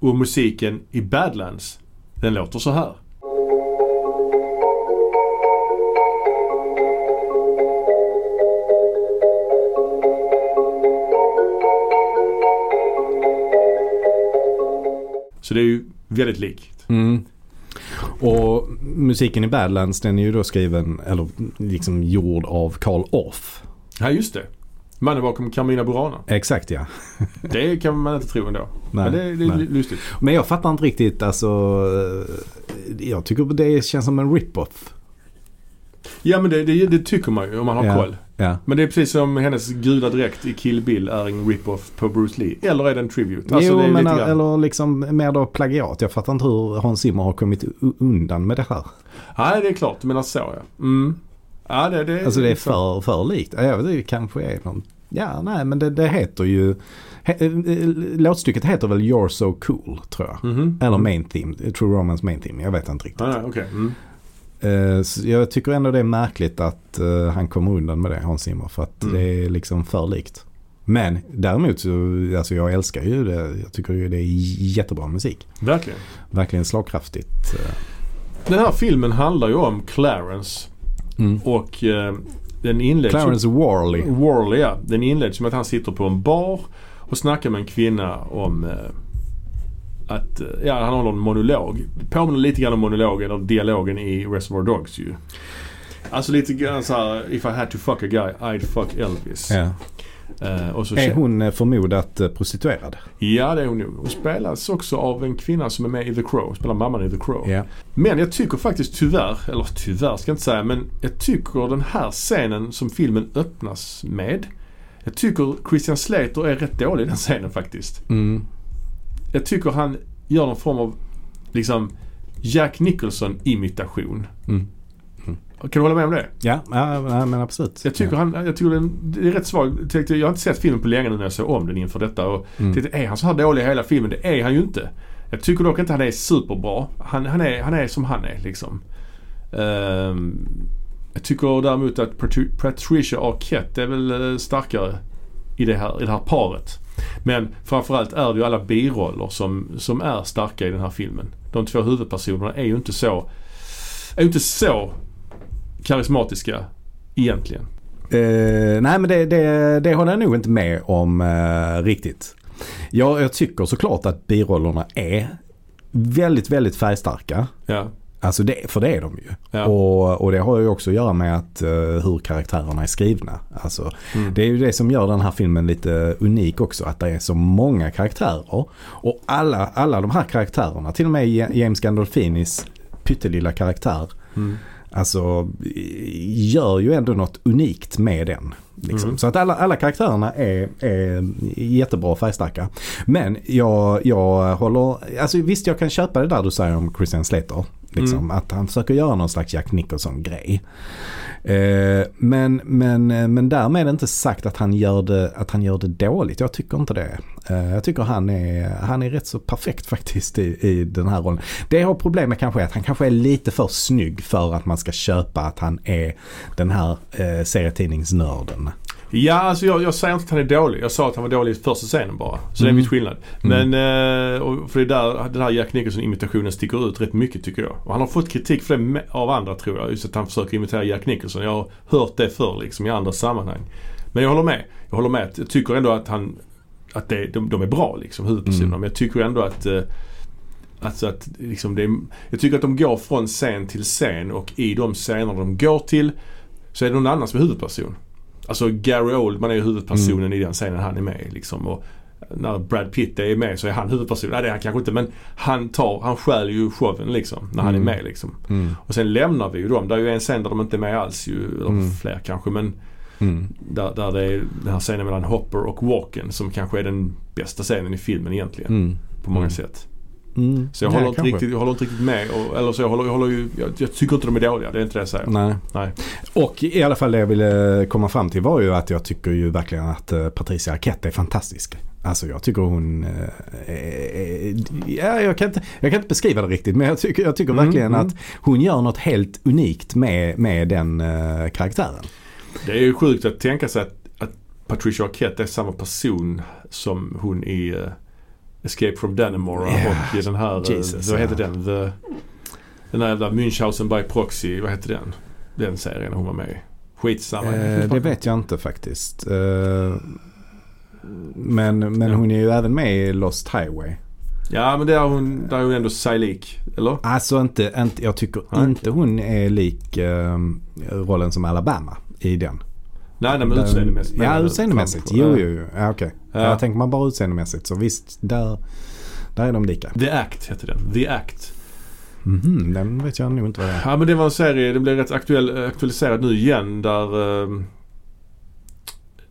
A: Och musiken i Badlands den låter så här. Så det är ju väldigt likt.
B: Mm. Och musiken i Badlands den är ju då skriven, eller liksom gjord av Carl Orff.
A: Ja, just det. Mannen bakom Carmina Burana.
B: Exakt ja.
A: Det kan man inte tro ändå.
B: Nej,
A: Men det är li-
B: nej.
A: li- lustigt.
B: Men jag fattar inte riktigt alltså. eh, Jag tycker det känns som en rip-off.
A: Ja men det, det, det tycker man ju om man har
B: Ja.
A: koll.
B: Ja.
A: Men det är precis som hennes gula dräkt i Kill Bill är en rip-off på Bruce Lee. Eller är det en tribute? Alltså,
B: jo
A: det är
B: men
A: lite grann.
B: eller liksom mer då plagiat. Jag fattar inte hur Hans Zimmer har kommit u- undan med det här.
A: Nej det är klart, du menar så ja. Mm. Ja det, det,
B: Alltså det är för, för likt. Ja, Jag vet inte, det kanske är någon... Ja nej men det, det heter ju... He, eh, eh, låtstycket heter väl You're So Cool tror jag.
A: Mhm.
B: Eller main theme, eh, True Romance main theme. Jag vet inte riktigt.
A: Ja, ja, okej. Mm.
B: Eh, så jag tycker ändå det är märkligt att eh, han kommer undan med det, Hans Zimmer. För att
A: Mm.
B: det är liksom för likt. Men däremot så, alltså jag älskar ju det. Jag tycker ju det är jättebra musik.
A: Verkligen.
B: Verkligen slagkraftigt. eh.
A: Den här filmen handlar ju om Clarence
B: Mm.
A: och eh, den inleds ju-
B: Clarence Worley.
A: Worley ja. Den inleds med att han sitter på en bar och snackar med en kvinna om eh, att, eh, ja han har någon monolog. Påminner lite grann om monologen och dialogen i Reservoir Dogs ju. Alltså lite grann såhär, if I had to fuck a guy I'd fuck Elvis.
B: Ja.
A: Eh, och så
B: Är hon eh, förmodat eh, prostituerad?
A: Ja det är hon nog. Hon spelas också av en kvinna som är med i The Crow. Spelar mamman i The Crow.
B: Ja.
A: Men jag tycker faktiskt tyvärr, eller tyvärr ska jag inte säga, men jag tycker den här scenen som filmen öppnas med. Jag tycker Christian Slater är rätt dålig i den scenen faktiskt.
B: Mm.
A: Jag tycker han gör någon form av liksom Jack Nicholson-imitation.
B: Mm.
A: Kan du hålla med om det?
B: Ja, ja, ja men absolut.
A: Jag tycker, han, jag tycker den, det är rätt svag. Jag tänkte- Jag har inte sett filmen på länge nu när jag såg om den inför detta. Och
B: Mm.
A: tänkte, är han så här dålig i hela filmen? Det är han ju inte. Jag tycker dock inte han är superbra. Han, han, är, han är som han är liksom. Ehm, jag tycker däremot att Patri- Patricia Arquette är väl eh, starkare i det här, i det här paret. Men framförallt är det ju alla biroller som, som är starka i den här filmen. De två huvudpersonerna är ju inte så, är ju inte så karismatiska egentligen.
B: Eh, nej men det, det, det håller jag nog inte med om eh, riktigt. Jag, jag tycker såklart att birollerna är väldigt, väldigt färgstarka.
A: Ja,
B: Alltså det, för det är de ju.
A: Ja.
B: Och, och det har ju också att göra med att, eh, hur karaktärerna är skrivna. Alltså,
A: Mm.
B: Det är ju det som gör den här filmen lite unik också. Att det är så många karaktärer. Och alla, alla de här karaktärerna, till och med Ja- James Gandolfinis pyttelilla karaktär.
A: Mm.
B: Alltså i- gör ju ändå något unikt med den. Liksom. Så att alla, alla karaktärerna är, är jättebra färgstarka. Men jag, jag håller, alltså visst jag kan köpa det där du säger om Christian Slater. Liksom, Att han försöker göra någon slags Jack Nicholson-grej. Eh, men, men, eh, men därmed är det inte sagt att han gör det, att han gör det dåligt. Jag tycker inte det. Eh, jag tycker han är, han är rätt så perfekt faktiskt i, i den här rollen. Det jag har problem med kanske är att han kanske är lite för snygg för att man ska köpa att han är den här eh, serietidningsnörden.
A: Ja, alltså jag, jag säger inte att han är dålig. Jag sa att han var dålig i första scenen bara. Så det är en viss skillnad. Men, eh, och, för det är där den här Jack Nicholson-imitationen sticker ut rätt mycket tycker jag. Och han har fått kritik för det med- av andra tror jag. Just att han försöker imitera Jack Nicholson. Jag har hört det förr liksom i andra sammanhang. Men jag håller med. Jag håller med. Jag tycker ändå att han, att det, de, de är bra liksom huvudpersonerna. Men jag tycker ändå att eh, Alltså att liksom det är, jag tycker att de går från scen till scen och i de scener de går till så är det någon annan som är huvudperson. Alltså Gary Oldman är ju huvudpersonen i den scenen han är med i, liksom. Och när Brad Pitt är med så är han huvudpersonen. Nej det är han kanske inte men han tar, han stjäl ju showen liksom när han är med liksom. Och sen lämnar vi ju dem. Det är ju en scen där de inte är med alls ju. Eller fler kanske men där, där det är den här scenen mellan Hopper och Walken som kanske är den bästa scenen i filmen egentligen. På många sätt.
B: Mm.
A: Så jag,
B: Ja,
A: håller, inte
B: kanske.
A: riktigt, jag håller inte riktigt med. Och, eller så jag, håller, jag, håller ju, jag, jag tycker inte de är dåliga. Det är inte det jag säger.
B: Nej.
A: Nej.
B: Och i alla fall det jag ville komma fram till var ju att jag tycker ju verkligen att eh, Patricia Arquette är fantastisk. Alltså jag tycker hon... eh, eh, ja, jag, kan inte, jag kan inte beskriva det riktigt men jag tycker, jag tycker verkligen att hon gör något helt unikt med, med den eh, karaktären.
A: Det är ju sjukt att tänka sig att, att Patricia Arquette är samma person som hon i eh, Escape from Dannemora
B: Ja,
A: och i den här... eh,
B: Jesus,
A: vad heter
B: ja.
A: den? The, den här jävla Münchhausen by proxy. Vad heter den? Den serien hon var med i. Skitsamma.
B: Eh, det vet jag inte faktiskt. Eh, men men
A: Ja.
B: hon är ju även med i Lost Highway.
A: Ja men där är hon, där är hon ändå sig lik. Eller?
B: Alltså inte, inte jag tycker
A: Nej.
B: inte hon är lik eh, rollen som Alabama i den.
A: Nej, nej men utseendemässigt.
B: Ja,
A: menar du?
B: utseendemässigt.
A: Framför-
B: Jo,
A: Ja.
B: jo, jo. Ja, okej.
A: Ja.
B: Ja. Tänker man bara utseendemässigt så visst, där, där är de lika.
A: The Act heter den. The Act.
B: Mhm, den vet jag nog inte vad det är.
A: Ja men det var en serie, den blev rätt aktuell, aktualiserad nu igen där eh,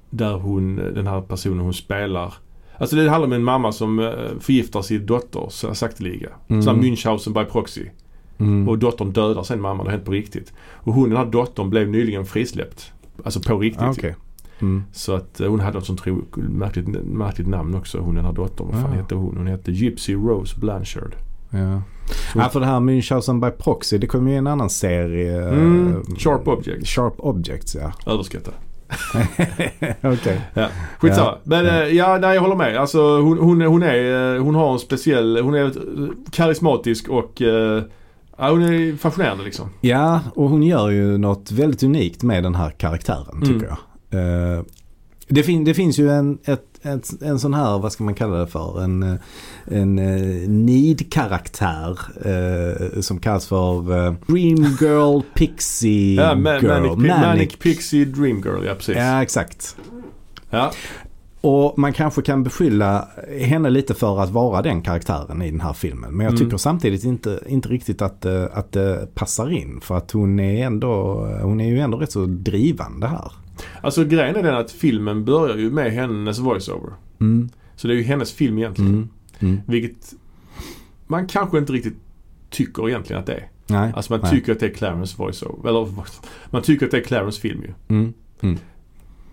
A: Där hon, den här personen hon spelar Alltså det handlar om en mamma som eh, förgiftar sin dotter så- sakteliga. Mm.
B: Mm.
A: Sån här Münchhausen by proxy.
B: Mm.
A: Och dottern dödar sen mamman, det har hänt på riktigt. Och hon, den här dottern blev nyligen frisläppt. Alltså på riktigt.
B: Ah, okej. Mm.
A: Så att eh, hon hade något sånt tro, märkligt, märkligt namn också, hon den här dottern. Vad fan
B: Ah.
A: hette hon? Hon hette Gypsy Rose Blanchard.
B: Ja. ja, för det här Münchhausen by proxy, det kom ju en annan serie.
A: Mm.
B: eh,
A: Sharp Objects.
B: Sharp Objects, ja.
A: Överskattad.
B: Okej.
A: Ja, skitsamma.
B: Ja. Mm.
A: Men eh, ja, nej, jag håller med. Alltså, hon, hon, hon, är, eh, hon har en speciell, hon är eh, karismatisk och eh, ja, hon är fascinerande liksom.
B: Ja, och hon gör ju något väldigt unikt med den här karaktären tycker
A: Mm.
B: jag. Eh, det, fin- det finns ju en, ett, ett, en sån här, vad ska man kalla det för, en, eh, en eh, need-karaktär eh, som kallas för eh, Dream Girl Pixie
A: Ja, ma-
B: Girl.
A: manic, Pi- manic Pixie Dream Girl, ja precis. Ja.
B: Ja, exakt.
A: Ja.
B: Och man kanske kan beskylla henne lite för att vara den karaktären i den här filmen. Men jag tycker samtidigt inte, inte riktigt att, eh, att det passar in. För att hon är, ändå, hon är ju ändå rätt så drivande här.
A: Alltså grejen är den att filmen börjar ju med hennes voiceover.
B: Mm.
A: Så det är ju hennes film egentligen.
B: Mm. Mm.
A: Vilket man kanske inte riktigt tycker egentligen att det är.
B: Nej.
A: Alltså man
B: nej.
A: tycker att det är Clarence voiceover. Eller man tycker att det är Clarence film ju.
B: Mm.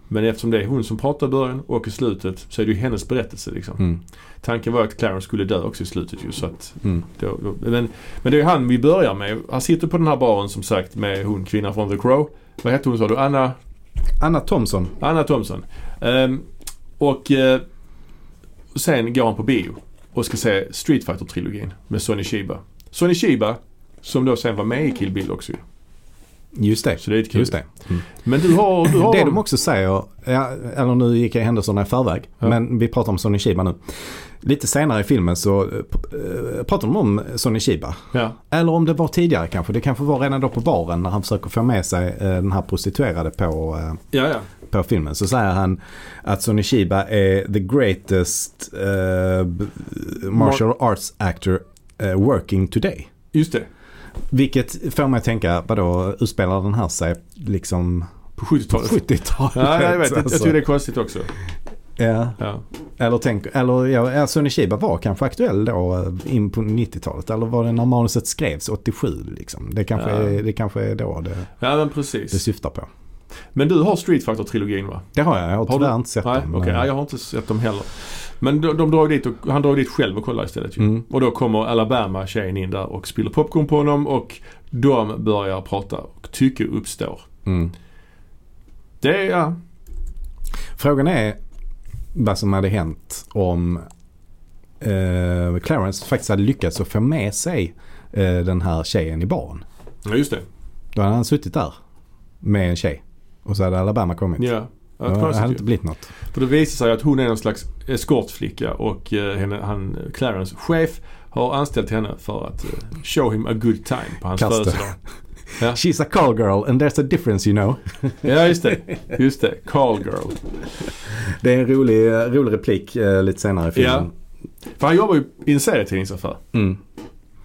A: Men eftersom det är hon som pratar i början och i slutet så är det ju hennes berättelse liksom.
B: Mm.
A: Tanken var att Clarence skulle dö också i slutet ju så att
B: Mm.
A: då, då, men, men det är ju han vi börjar med. Han sitter på den här baren som sagt med hon kvinnan från The Crow. Vad hette hon sa du? Anna,
B: Anna Thomson.
A: Anna Thomson. Ehm, och eh, sen går han på bio och ska se Street Fighter-trilogin med Sonny Shiba. Sonny Shiba som då sen var med i Kill Bill också ju.
B: Just det.
A: Så det är lite kul.
B: Just det. Mm.
A: Men du har... Du har
B: Det
A: dem-
B: de också säger, ja, eller nu gick jag händelserna i förväg,
A: Ja.
B: men vi pratar om Sonny Shiba nu. Lite senare i filmen så eh, p- eh, pratar de om Sonny Shiba.
A: Ja,
B: Eller om det var tidigare kanske. Det kanske var redan då på baren när han försöker få med sig eh, den här prostituerade på, eh,
A: ja, ja.
B: på filmen. Så säger han att Sonny Shiba är the greatest eh, b- martial arts actor eh, working today.
A: Just det.
B: Vilket får mig att tänka, vadå, utspelar den här sig liksom
A: På
B: på
A: 70-talet.
B: 70-talet?
A: Ja, jag vet. Jag, jag
B: alltså?
A: tycker det är konstigt också.
B: Ja,
A: Ja.
B: eller tänk, eller ja, ja, Sonny Shiba var kanske aktuell då eh, in på 90-talet. Eller var det när manuset skrevs 87 liksom? Det kanske,
A: Ja.
B: är, det kanske är då det,
A: ja, men
B: det
A: precis.
B: syftar på.
A: Men du har Street Fighter-trilogin va?
B: Det har jag, jag har,
A: Har du-
B: tyvärr inte sett
A: Nej,
B: den.
A: okej.
B: men-
A: Ja, jag har inte sett dem heller. Men de, de drar ju dit och, han drar ju dit själv och kollar istället ju.
B: Mm.
A: Och då kommer Alabama-tjejen in där och spiller popcorn på honom och de börjar prata och tycke uppstår.
B: Mm.
A: Det, är- ja.
B: Frågan är vad som hade hänt om eh, Clarence faktiskt hade lyckats att få med sig eh, den här tjejen i barn.
A: Ja, just det.
B: Då hade han suttit där med en tjej och så hade Alabama kommit.
A: Ja. Ja,
B: det hade
A: konstigt
B: inte
A: ju.
B: blivit något.
A: För det visar sig att hon är någon slags eskortflicka och eh, henne, han, Clarence chef har anställt henne för att eh, show him a good time på hans
B: Kasta.
A: födelsedag. Ja.
B: She's a call girl and there's a difference you know.
A: Ja, just det. Just det. Call girl.
B: Det är en rolig, rolig replik eh, lite senare i filmen.
A: För han jobbar ju i en serietidningsaffär.
B: Ja. Mm.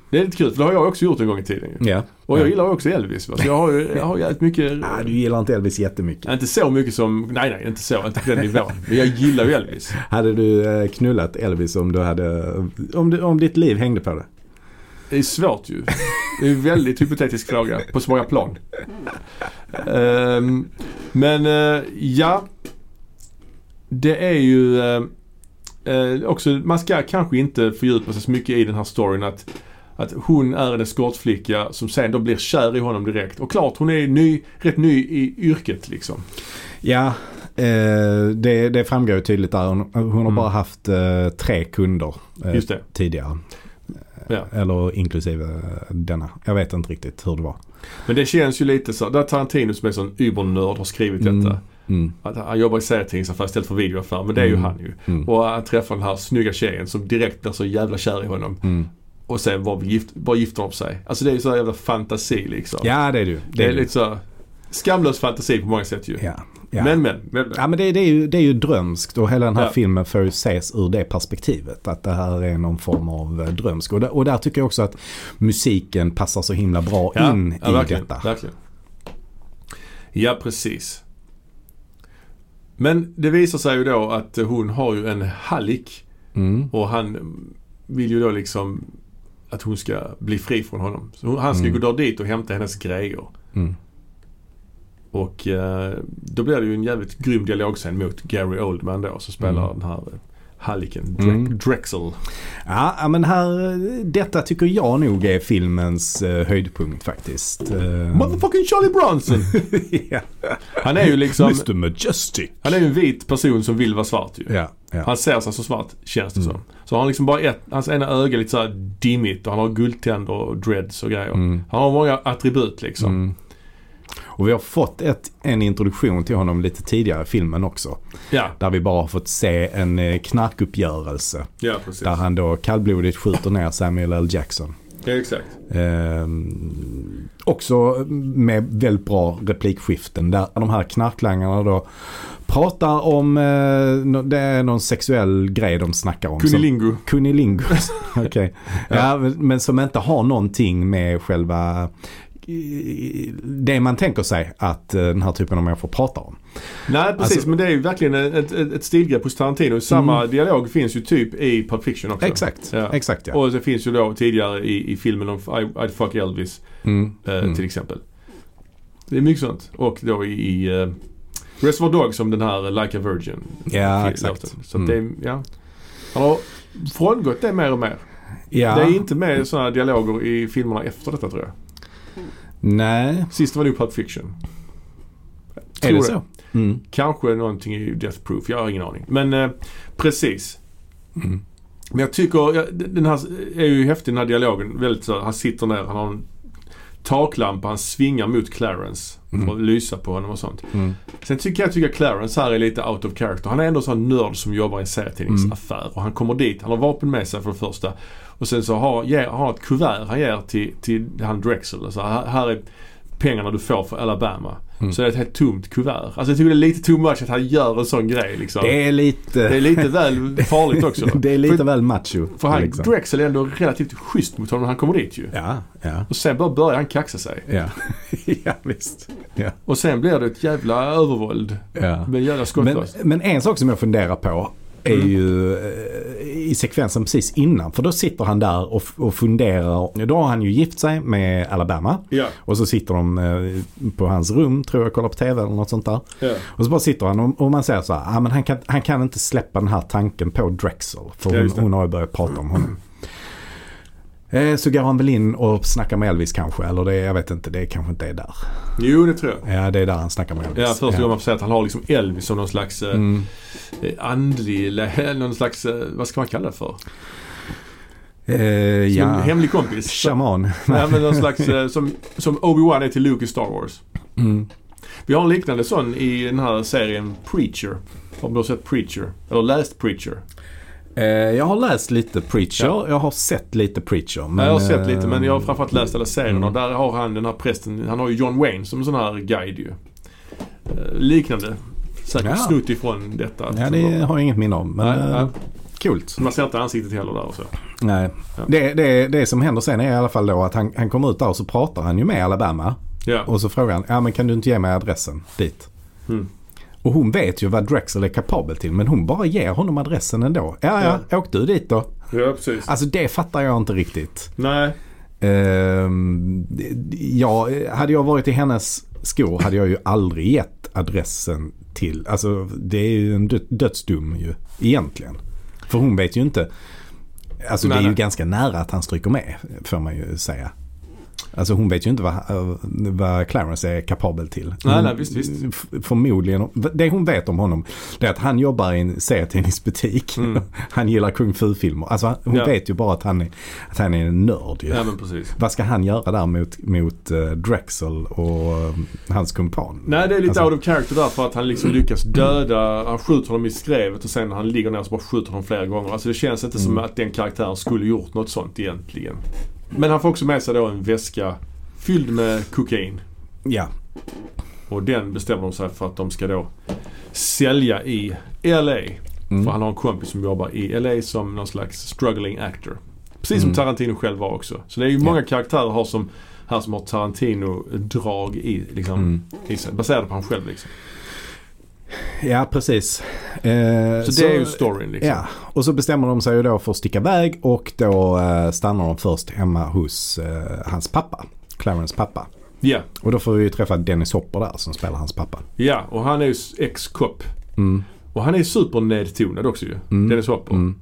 A: Det är lite kul, för det har jag också gjort en gång i tiden ju.
B: ja.
A: Och jag gillar också Elvis. Va? Så jag har ju jag har jävligt mycket...
B: Ah, du gillar inte Elvis jättemycket.
A: Inte så mycket som... Nej, nej, inte så. Inte på den nivån. Men jag gillar ju Elvis.
B: Hade du eh, knullat Elvis om, du hade, om, du, om ditt liv hängde på det?
A: Det är svårt ju. Det är en väldigt hypotetisk fråga på så många plan. Ehm, men eh, ja. Det är ju eh, eh, också, man ska kanske inte fördjupa sig så mycket i den här storyn att, att hon är en eskortflicka som sen då blir kär i honom direkt. Och klart hon är ny, rätt ny i yrket liksom.
B: Ja, eh, det, det framgår ju tydligt där. Hon, hon har
A: Mm.
B: bara haft eh, tre kunder eh,
A: Just det.
B: tidigare.
A: Ja.
B: Eller inklusive eh, denna. Jag vet inte riktigt hur det var.
A: Men det känns ju lite så. Där Tarantino som är sån übernörd har skrivit detta.
B: Mm. Mm.
A: Att han jobbar i serietidningsaffär istället för videoaffär. Men det är ju
B: Mm.
A: han ju.
B: Mm.
A: Och han träffar den här snygga tjejen som direkt blir så jävla kär i honom.
B: Mm.
A: Och sen bara, gift, bara gifter de sig. Alltså det är ju så här jävla fantasi liksom.
B: Ja, det är du.
A: det är
B: du.
A: lite så här skamlös fantasi på många sätt ju.
B: Ja. Ja.
A: Men men. men, men.
B: Ja men det, det, är ju, det är ju drömskt och hela den här
A: Ja.
B: filmen får ju ses ur det perspektivet. Att det här är någon form av eh, drömsk. Och, där- och där tycker jag också att musiken passar så himla bra
A: Ja,
B: in
A: ja,
B: i
A: verkligen,
B: detta.
A: verkligen. Ja, precis. Men det visar sig ju då att hon har ju en hallick.
B: Mm.
A: Och han vill ju då liksom att hon ska bli fri från honom. Så hon- han ska
B: Mm.
A: gå där dit och hämta hennes grejer.
B: Mm.
A: Och eh, då blir det ju en jävligt grym dialog sen mot Gary Oldman då som spelar
B: Mm.
A: den här eh, halliken Dre-
B: Mm.
A: Drexel.
B: Ja, ja, men här, detta tycker jag nog är filmens eh, höjdpunkt faktiskt. Eh,
A: Motherfucking Charlie Bronson!
B: ja.
A: Han är ju liksom,
B: Mr Majestic.
A: han är ju en vit person som vill vara svart ju.
B: Ja, Mm. ja.
A: Han ser sig som svart känns det som. Så har han liksom bara ett, hans ena öga är lite såhär dimmigt och han har guldtänder och dreads och grejer.
B: Mm.
A: Han har många attribut liksom.
B: Mm. Och vi har fått ett, en introduktion till honom lite tidigare i filmen också.
A: Ja,
B: Där vi bara har fått se en eh, knarkuppgörelse.
A: ja precis.
B: Där han då kallblodigt skjuter ner Samuel L. Jackson.
A: Ja, exakt.
B: Ehm, också med väldigt bra replikskiften där de här knarklangarna då pratar om, eh, nå- det är någon sexuell grej de snackar om. som-
A: Kunilingo.
B: Kunilingus. Okej. ja. men, men som inte har någonting med själva det man tänker sig att eh, den här typen av människor pratar om.
A: Nej precis
B: Alltså-
A: men det är ju verkligen ett, ett, ett stilgrepp hos Tarantino. Samma dialog finns ju typ i Pulp Fiction också.
B: Mm. Exakt,
A: Ja.
B: exakt ja.
A: Och det finns ju då tidigare i, i filmen om I, I'd fuck Elvis
B: Mm.
A: eh,
B: Mm.
A: till exempel. Det är mycket sånt. Och då i, i eh, Reservoir Dogs som den här eh, Like a Virgin.
B: Ja,
A: fil-
B: exakt. Mm.
A: låten. Så att det, ja. Han har frångått det mer och mer.
B: Ja,
A: Det är inte med sådana dialoger i filmerna efter detta tror jag.
B: nej,
A: Sist var nog Pulp Fiction.
B: är
A: Tror
B: det
A: det.
B: så? Mm.
A: Kanske någonting i Death Proof, jag har ingen aning. Men eh, precis.
B: Mm.
A: Men jag tycker, ja, d- den här är ju häftig den här dialogen. Väldigt så, han sitter ner, han har en taklampa, han svingar mot Clarence
B: Mm.
A: för att lysa på honom och sånt.
B: Mm.
A: Sen tycker jag tycker Clarence här är lite out of character. Han är ändå sån nörd som jobbar i en serietidningsaffär
B: Mm.
A: och han kommer dit, han har vapen med sig för det första. Och sen så har ger- har han ett kuvert han ger till, till han Drexel. Alltså, här, här är pengarna du får för Alabama.
B: Mm.
A: Så det är ett helt tomt kuvert. Alltså jag tycker det är lite too much att han gör en sån grej liksom.
B: Det är lite...
A: Det är lite väl farligt också.
B: det är lite väl macho.
A: För han,
B: liksom.
A: Drexel är ändå relativt schysst mot honom när han kommer dit ju.
B: Ja, ja,
A: Och sen bara börjar han kaxa sig.
B: ja. ja, visst. Ja,
A: Och sen blir det ett jävla övervåld.
B: ja.
A: Med jävla
B: Men,
A: skottloss.
B: men en sak som jag funderar på är
A: Mm.
B: ju eh, i sekvensen precis innan. För då sitter han där och, f- och funderar. Då har han ju gift sig med Alabama.
A: Ja,
B: Och så sitter de eh, på hans rum, tror jag, kollar på TV eller något sånt där.
A: ja.
B: Och så bara sitter han och, och man säger så här, ah, men han, kan, han kan inte släppa den här tanken på Drexel. För
A: Ja,
B: hon,
A: just det.
B: hon har ju börjat prata om honom. Eh, Så går han väl in och snackar med Elvis kanske, eller det, jag vet inte, det kanske inte är där.
A: Jo, det tror jag.
B: Ja, det är där han snackar med Elvis.
A: Ja, första gången man får säga att han har liksom Elvis som någon slags eh,
B: Mm.
A: andlig, eller någon slags, eh, vad ska man kalla det för? Som
B: Eh,
A: en
B: ja,
A: hemlig kompis.
B: shaman.
A: Nej, men någon slags, eh, som, som Obi-Wan är till Luke i Star Wars.
B: Mm.
A: Vi har en liknande sån i den här serien Preacher. Om du har sett Preacher? Eller läst Preacher?
B: Eh, jag har läst lite Preacher,
A: Ja.
B: jag har sett lite Preacher. Men,
A: Ja, jag har sett lite
B: eh,
A: men jag har framförallt läst alla serierna
B: Mm.
A: och där har han den här prästen, han har ju John Wayne som sån här guide ju. Eh, liknande. Säkert
B: Ja.
A: snutt ifrån detta.
B: Ja, det har jag inget minne om. Men
A: Nej,
B: eh,
A: nej.
B: coolt.
A: Så man ser inte ansiktet heller där och så.
B: Nej.
A: Ja.
B: Det, det, det som händer sen är i alla fall då att han, han kommer ut där och så pratar han ju med Alabama.
A: Ja.
B: Och så frågar han, ja men kan du inte ge mig adressen dit?
A: Mm.
B: Och hon vet ju vad Drexel är kapabel till men hon bara ger honom adressen ändå. Ja, ja, åk du dit då.
A: ja, precis.
B: Alltså det fattar jag inte riktigt.
A: Nej.
B: Ehm, ja, hade jag varit i hennes skor hade jag ju aldrig gett adressen till. Alltså det är ju en dö- dödsdom ju egentligen. För hon vet ju inte. Alltså
A: Nej,
B: det är ju
A: nej.
B: ganska nära att han stryker med får man ju säga. Alltså hon vet ju inte vad, vad Clarence är kapabel till.
A: Nej,
B: Hon-
A: nej, visst, visst.
B: f- Förmodligen, det hon vet om honom det är att han jobbar i en serietidningsbutik.
A: Mm.
B: Han gillar kung fu-filmer. Alltså hon
A: Ja.
B: vet ju bara att han är, att han är en nörd ju.
A: Ja men precis.
B: Vad ska han göra där mot, mot eh, Drexel och eh, hans kumpan?
A: Nej det är lite
B: Alltså-
A: out of character där för att han liksom lyckas döda, han skjuter honom i skrevet och sen när han ligger ner så bara skjuter honom flera gånger. Alltså det känns inte som att den karaktären skulle gjort något sånt egentligen. Men han får också med sig då en väska fylld med kokain.
B: Ja,
A: Och den bestämmer de sig för att de ska då sälja i LA.
B: Mm.
A: För han har en kompis som jobbar i LA som någon slags struggling actor. Precis
B: Mm.
A: som Tarantino själv var också. Så det är ju många karaktärer har som, här som har Tarantino-drag i, liksom,
B: Mm.
A: i sig. Baserade på han själv liksom.
B: ja precis. Eh,
A: Så, det är ju storyn liksom.
B: Ja, och så bestämmer de sig ju då för att sticka iväg och då eh, stannar de först hemma hos eh, hans pappa. Clarence pappa.
A: Ja.
B: Och då får vi ju träffa Dennis Hopper där som spelar hans pappa.
A: ja, och han är ju ex-cop.
B: Mm.
A: Och han är supernedtonad också ju.
B: Mm.
A: Dennis Hopper.
B: Mm.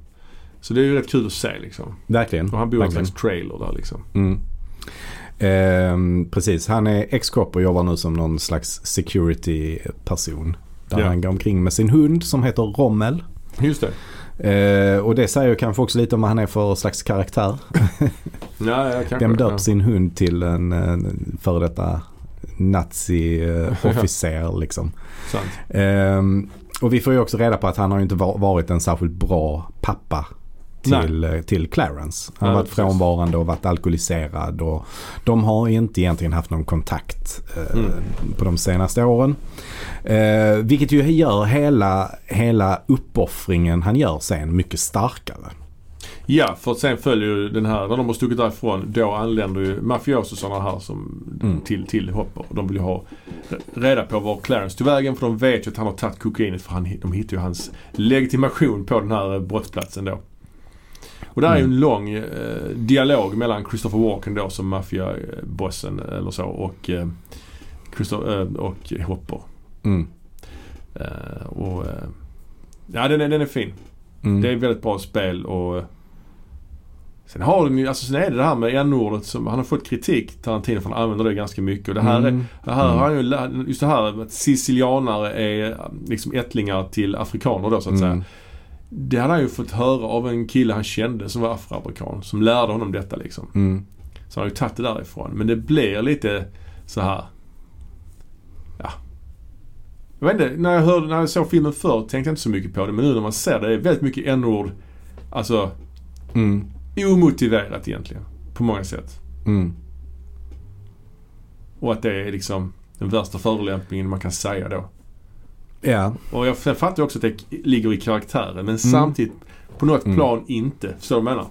A: Så det är ju rätt kul att se liksom.
B: Verkligen.
A: Och han bor i en
B: Verkligen.
A: slags trailer där liksom.
B: Mm. Ehm, precis, han är ex-cop och jobbar nu som någon slags security-person. Där
A: Ja.
B: han går omkring med sin hund som heter Rommel.
A: Just det.
B: Eh, och det säger kanske också lite om vad han är för slags karaktär.
A: Ja, ja, kanske.
B: Vem
A: ja.
B: döpt sin hund till en, en före detta nazi-officer liksom.
A: Sant.
B: Ehm, och vi får ju också reda på att han har ju inte va- varit en särskilt bra pappa till, eh, till Clarence. Han har
A: Nej, precis.
B: varit frånvarande och varit alkoholiserad. Och de har inte egentligen haft någon kontakt eh,
A: Mm.
B: på de senaste åren. Eh, vilket ju gör hela, hela uppoffringen han gör sen mycket starkare.
A: Ja, för sen följer ju den här, när de har stuckit därifrån, då anländer ju mafiososerna här som
B: Mm.
A: till, till Hopper. Och de vill ju ha reda på var Clarence tog vägen för de vet ju att han har tagit kokainet för han, de hittar ju hans legitimation på den här eh, brottsplatsen då. Och där är ju en lång eh, dialog mellan Christopher Walken då som maffiabossen eller så och, eh, Christo- eh, och Hopper.
B: Mm.
A: Eh, och, eh, ja, den är, den är fin.
B: Mm.
A: Det är ett väldigt bra spel och eh, Sen har de ju, alltså sen är det det här med n-ordet som, han har fått kritik Tarantino för han använder det ganska mycket och det här är,
B: Mm.
A: det här har
B: Mm.
A: han ju, lä- just det här med att sicilianare är liksom ättlingar till afrikaner då så att säga.
B: Mm.
A: Det hade han ju fått höra av en kille han kände som var afroamerikan som lärde honom detta liksom.
B: Mm.
A: Så han har ju tagit det därifrån. Men det blir lite så här. Ja. Jag vet inte, när jag, hörde, när jag såg filmen förr tänkte jag inte så mycket på det. Men nu när man ser det, det är väldigt mycket n-ord. Alltså
B: Mm.
A: omotiverat egentligen. På många sätt.
B: Mm.
A: Och att det är liksom den värsta förolämpningen man kan säga då.
B: Ja,
A: Och jag sen fattar jag också att det k- ligger i karaktären. Men samtidigt på något
B: Mm.
A: plan inte. Förstår du vad jag menar?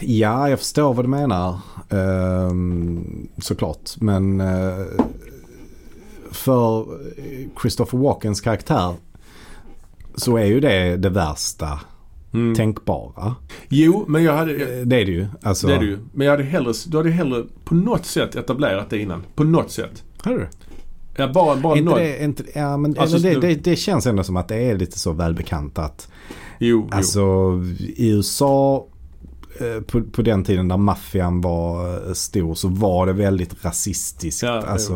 B: Ja, jag förstår vad du menar. Ehm, såklart. Men eh, för Christopher Walkens karaktär så är ju det det värsta
A: Mm.
B: Mm. tänkbara.
A: Jo, men jag hade...
B: Eh, Det är det ju. Alltså,
A: Det är det ju. Men jag hade hellre, du hade hellre på något sätt etablerat det innan. På något sätt.
B: Hör du?
A: Ja, bara, bara
B: Är inte
A: något.
B: det, inte, ja, men,
A: Alltså,
B: eller det,
A: nu-
B: det, det känns ändå som att det är lite så välbekant att
A: Jo, jo.
B: Alltså i USA eh, på, på den tiden där maffian var eh, stor så var det väldigt rasistiskt.
A: Ja, jo.
B: alltså,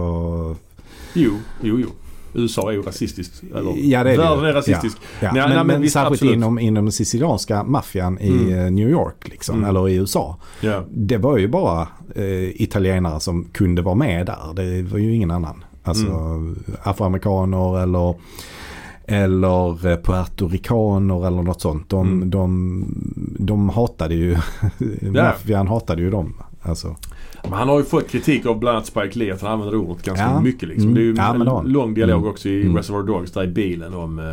A: Jo, jo, jo. USA är ju rasistiskt. Eller,
B: Ja, det är det ju.
A: världen är rasistisk.
B: ja.
A: Nej,
B: men,
A: nej, men
B: men
A: visst,
B: särskilt
A: absolut.
B: inom, inom den sicilianska maffian i
A: Mm.
B: eh, New York liksom,
A: Mm.
B: eller i USA.
A: Ja.
B: Det var ju bara eh, italienare som kunde vara med där. Det var ju ingen annan. Alltså
A: Mm.
B: afroamerikaner eller, eller eh, puertoricaner eller något sånt. De,
A: Mm.
B: de, de hatade ju, maffian hatade ju dem. Alltså.
A: Men han har ju fått kritik av bland annat Spike Lee att han använder ordet ganska
B: Ja.
A: mycket. Liksom.
B: Mm.
A: Det är ju
B: Ja, men
A: en
B: det har han.
A: lång dialog
B: Mm.
A: också i
B: Mm.
A: Reservoir Dogs där i bilen om, eh,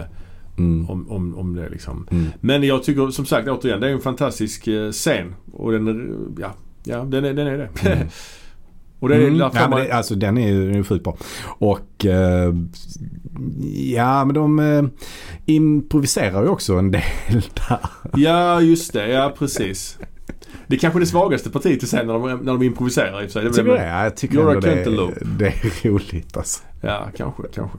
B: Mm.
A: om, om, om det liksom.
B: Mm.
A: Men jag tycker som sagt återigen, det är ju en fantastisk eh, scen. Och den är, ja, ja den är, den är det. och det är
B: Mm.
A: därför
B: Ja, men
A: man,
B: det, alltså den är ju den är ju sjukt bra. Och eh, ja men de eh, improviserar ju också en del där.
A: Ja, just det. Ja, precis. Det är kanske det svagaste partiet i scenen när de, när de improviserar i och för sig. Det är
B: Tycker du
A: väl-
B: det? Ja, jag tycker
A: You're
B: ändå
A: a
B: det,
A: cantaloupe.
B: det är roligt alltså.
A: Ja, kanske, kanske.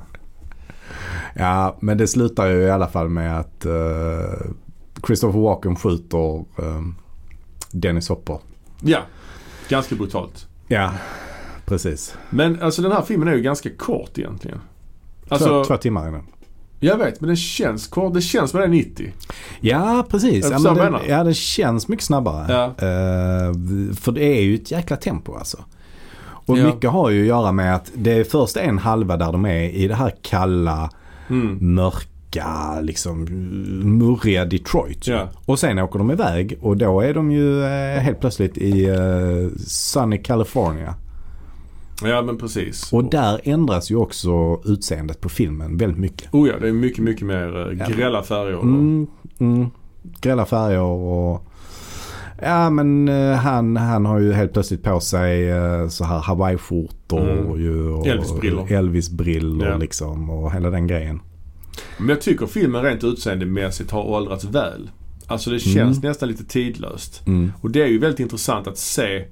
B: Ja, men det slutar ju i alla fall med att eh, Christopher Walken skjuter eh, Dennis Hopper.
A: Ja, ganska brutalt.
B: Ja, precis.
A: Men alltså den här filmen är ju ganska kort egentligen.
B: två,
A: Alltså,
B: två timmar innan.
A: jag vet, men den känns kort. Det känns som den är 90.
B: Ja, precis.
A: Jag
B: Ja,
A: förstår
B: men
A: vad jag
B: den,
A: menar.
B: ja, den känns mycket snabbare.
A: Ja.
B: Eh, för det är ju ett jäkla tempo alltså. Och
A: Ja.
B: mycket har ju att göra med att det är först en halva där de är i det här kalla,
A: Mm.
B: mörka, liksom murriga Detroit.
A: Ja.
B: Och sen åker de iväg och då är de ju eh, helt plötsligt i eh, sunny California.
A: Ja, men precis.
B: Och där ändras ju också utseendet på filmen väldigt mycket.
A: Oh ja, det är mycket, mycket mer eh,
B: Ja.
A: grälla färger. och-
B: Mm, mm. Grälla färger och... Ja men eh, han, han har ju helt plötsligt på sig eh, så här hawaiiskjortor
A: Mm.
B: och, ju- och
A: Elvis-brillor.
B: Elvis-brillor
A: Ja.
B: liksom och hela den grejen.
A: Men jag tycker filmen rent utseendemässigt har åldrats väl. Alltså det känns nästan lite tidlöst.
B: Mm.
A: Och det är ju väldigt intressant att se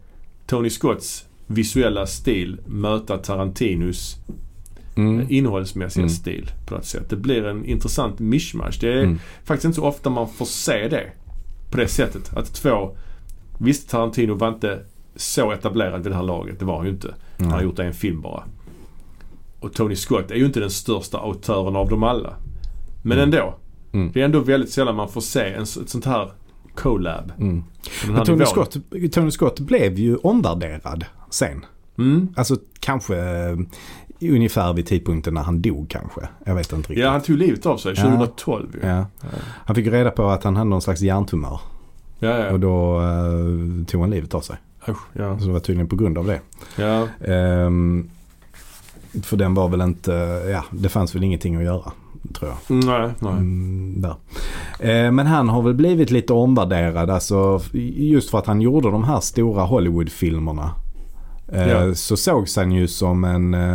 A: Tony Scotts visuella stil möta Tarantinos
B: Mm.
A: innehållsmässiga
B: Mm.
A: stil på något sätt. Det blir en intressant mishmash. Det är
B: Mm.
A: faktiskt inte så ofta man får se det på det sättet. Att två... Visst, Tarantino var inte så etablerad vid det här laget. Det var han ju inte. Han har gjort en film bara. Och Tony Scott är ju inte den största autören av dem alla. Men ändå.
B: Mm.
A: Det är ändå väldigt sällan man får se en, s- ett sånt här collab.
B: Mm.
A: på den här
B: Men Tony,
A: nivån.
B: Scott, Tony Scott blev ju omvärderad sen.
A: Mm.
B: Alltså kanske eh, ungefär vid tidpunkten när han dog kanske. Jag vet inte riktigt.
A: Ja, han tog livet av sig
B: Ja.
A: 2012 ju.
B: Ja. Han fick ju reda på att han hade någon slags hjärntumör.
A: Ja, ja.
B: Och då eh, tog han livet av sig.
A: Usch, ja.
B: Så det var tydligen på grund av det.
A: ja.
B: Ehm, för den var väl inte, ja det fanns väl ingenting att göra. tror jag.
A: Nej, nej.
B: Mm, där. Eh, men han har väl blivit lite omvärderad. Alltså, just för att han gjorde de här stora Hollywood-filmerna. Eh,
A: Ja.
B: Så sågs han ju som en eh,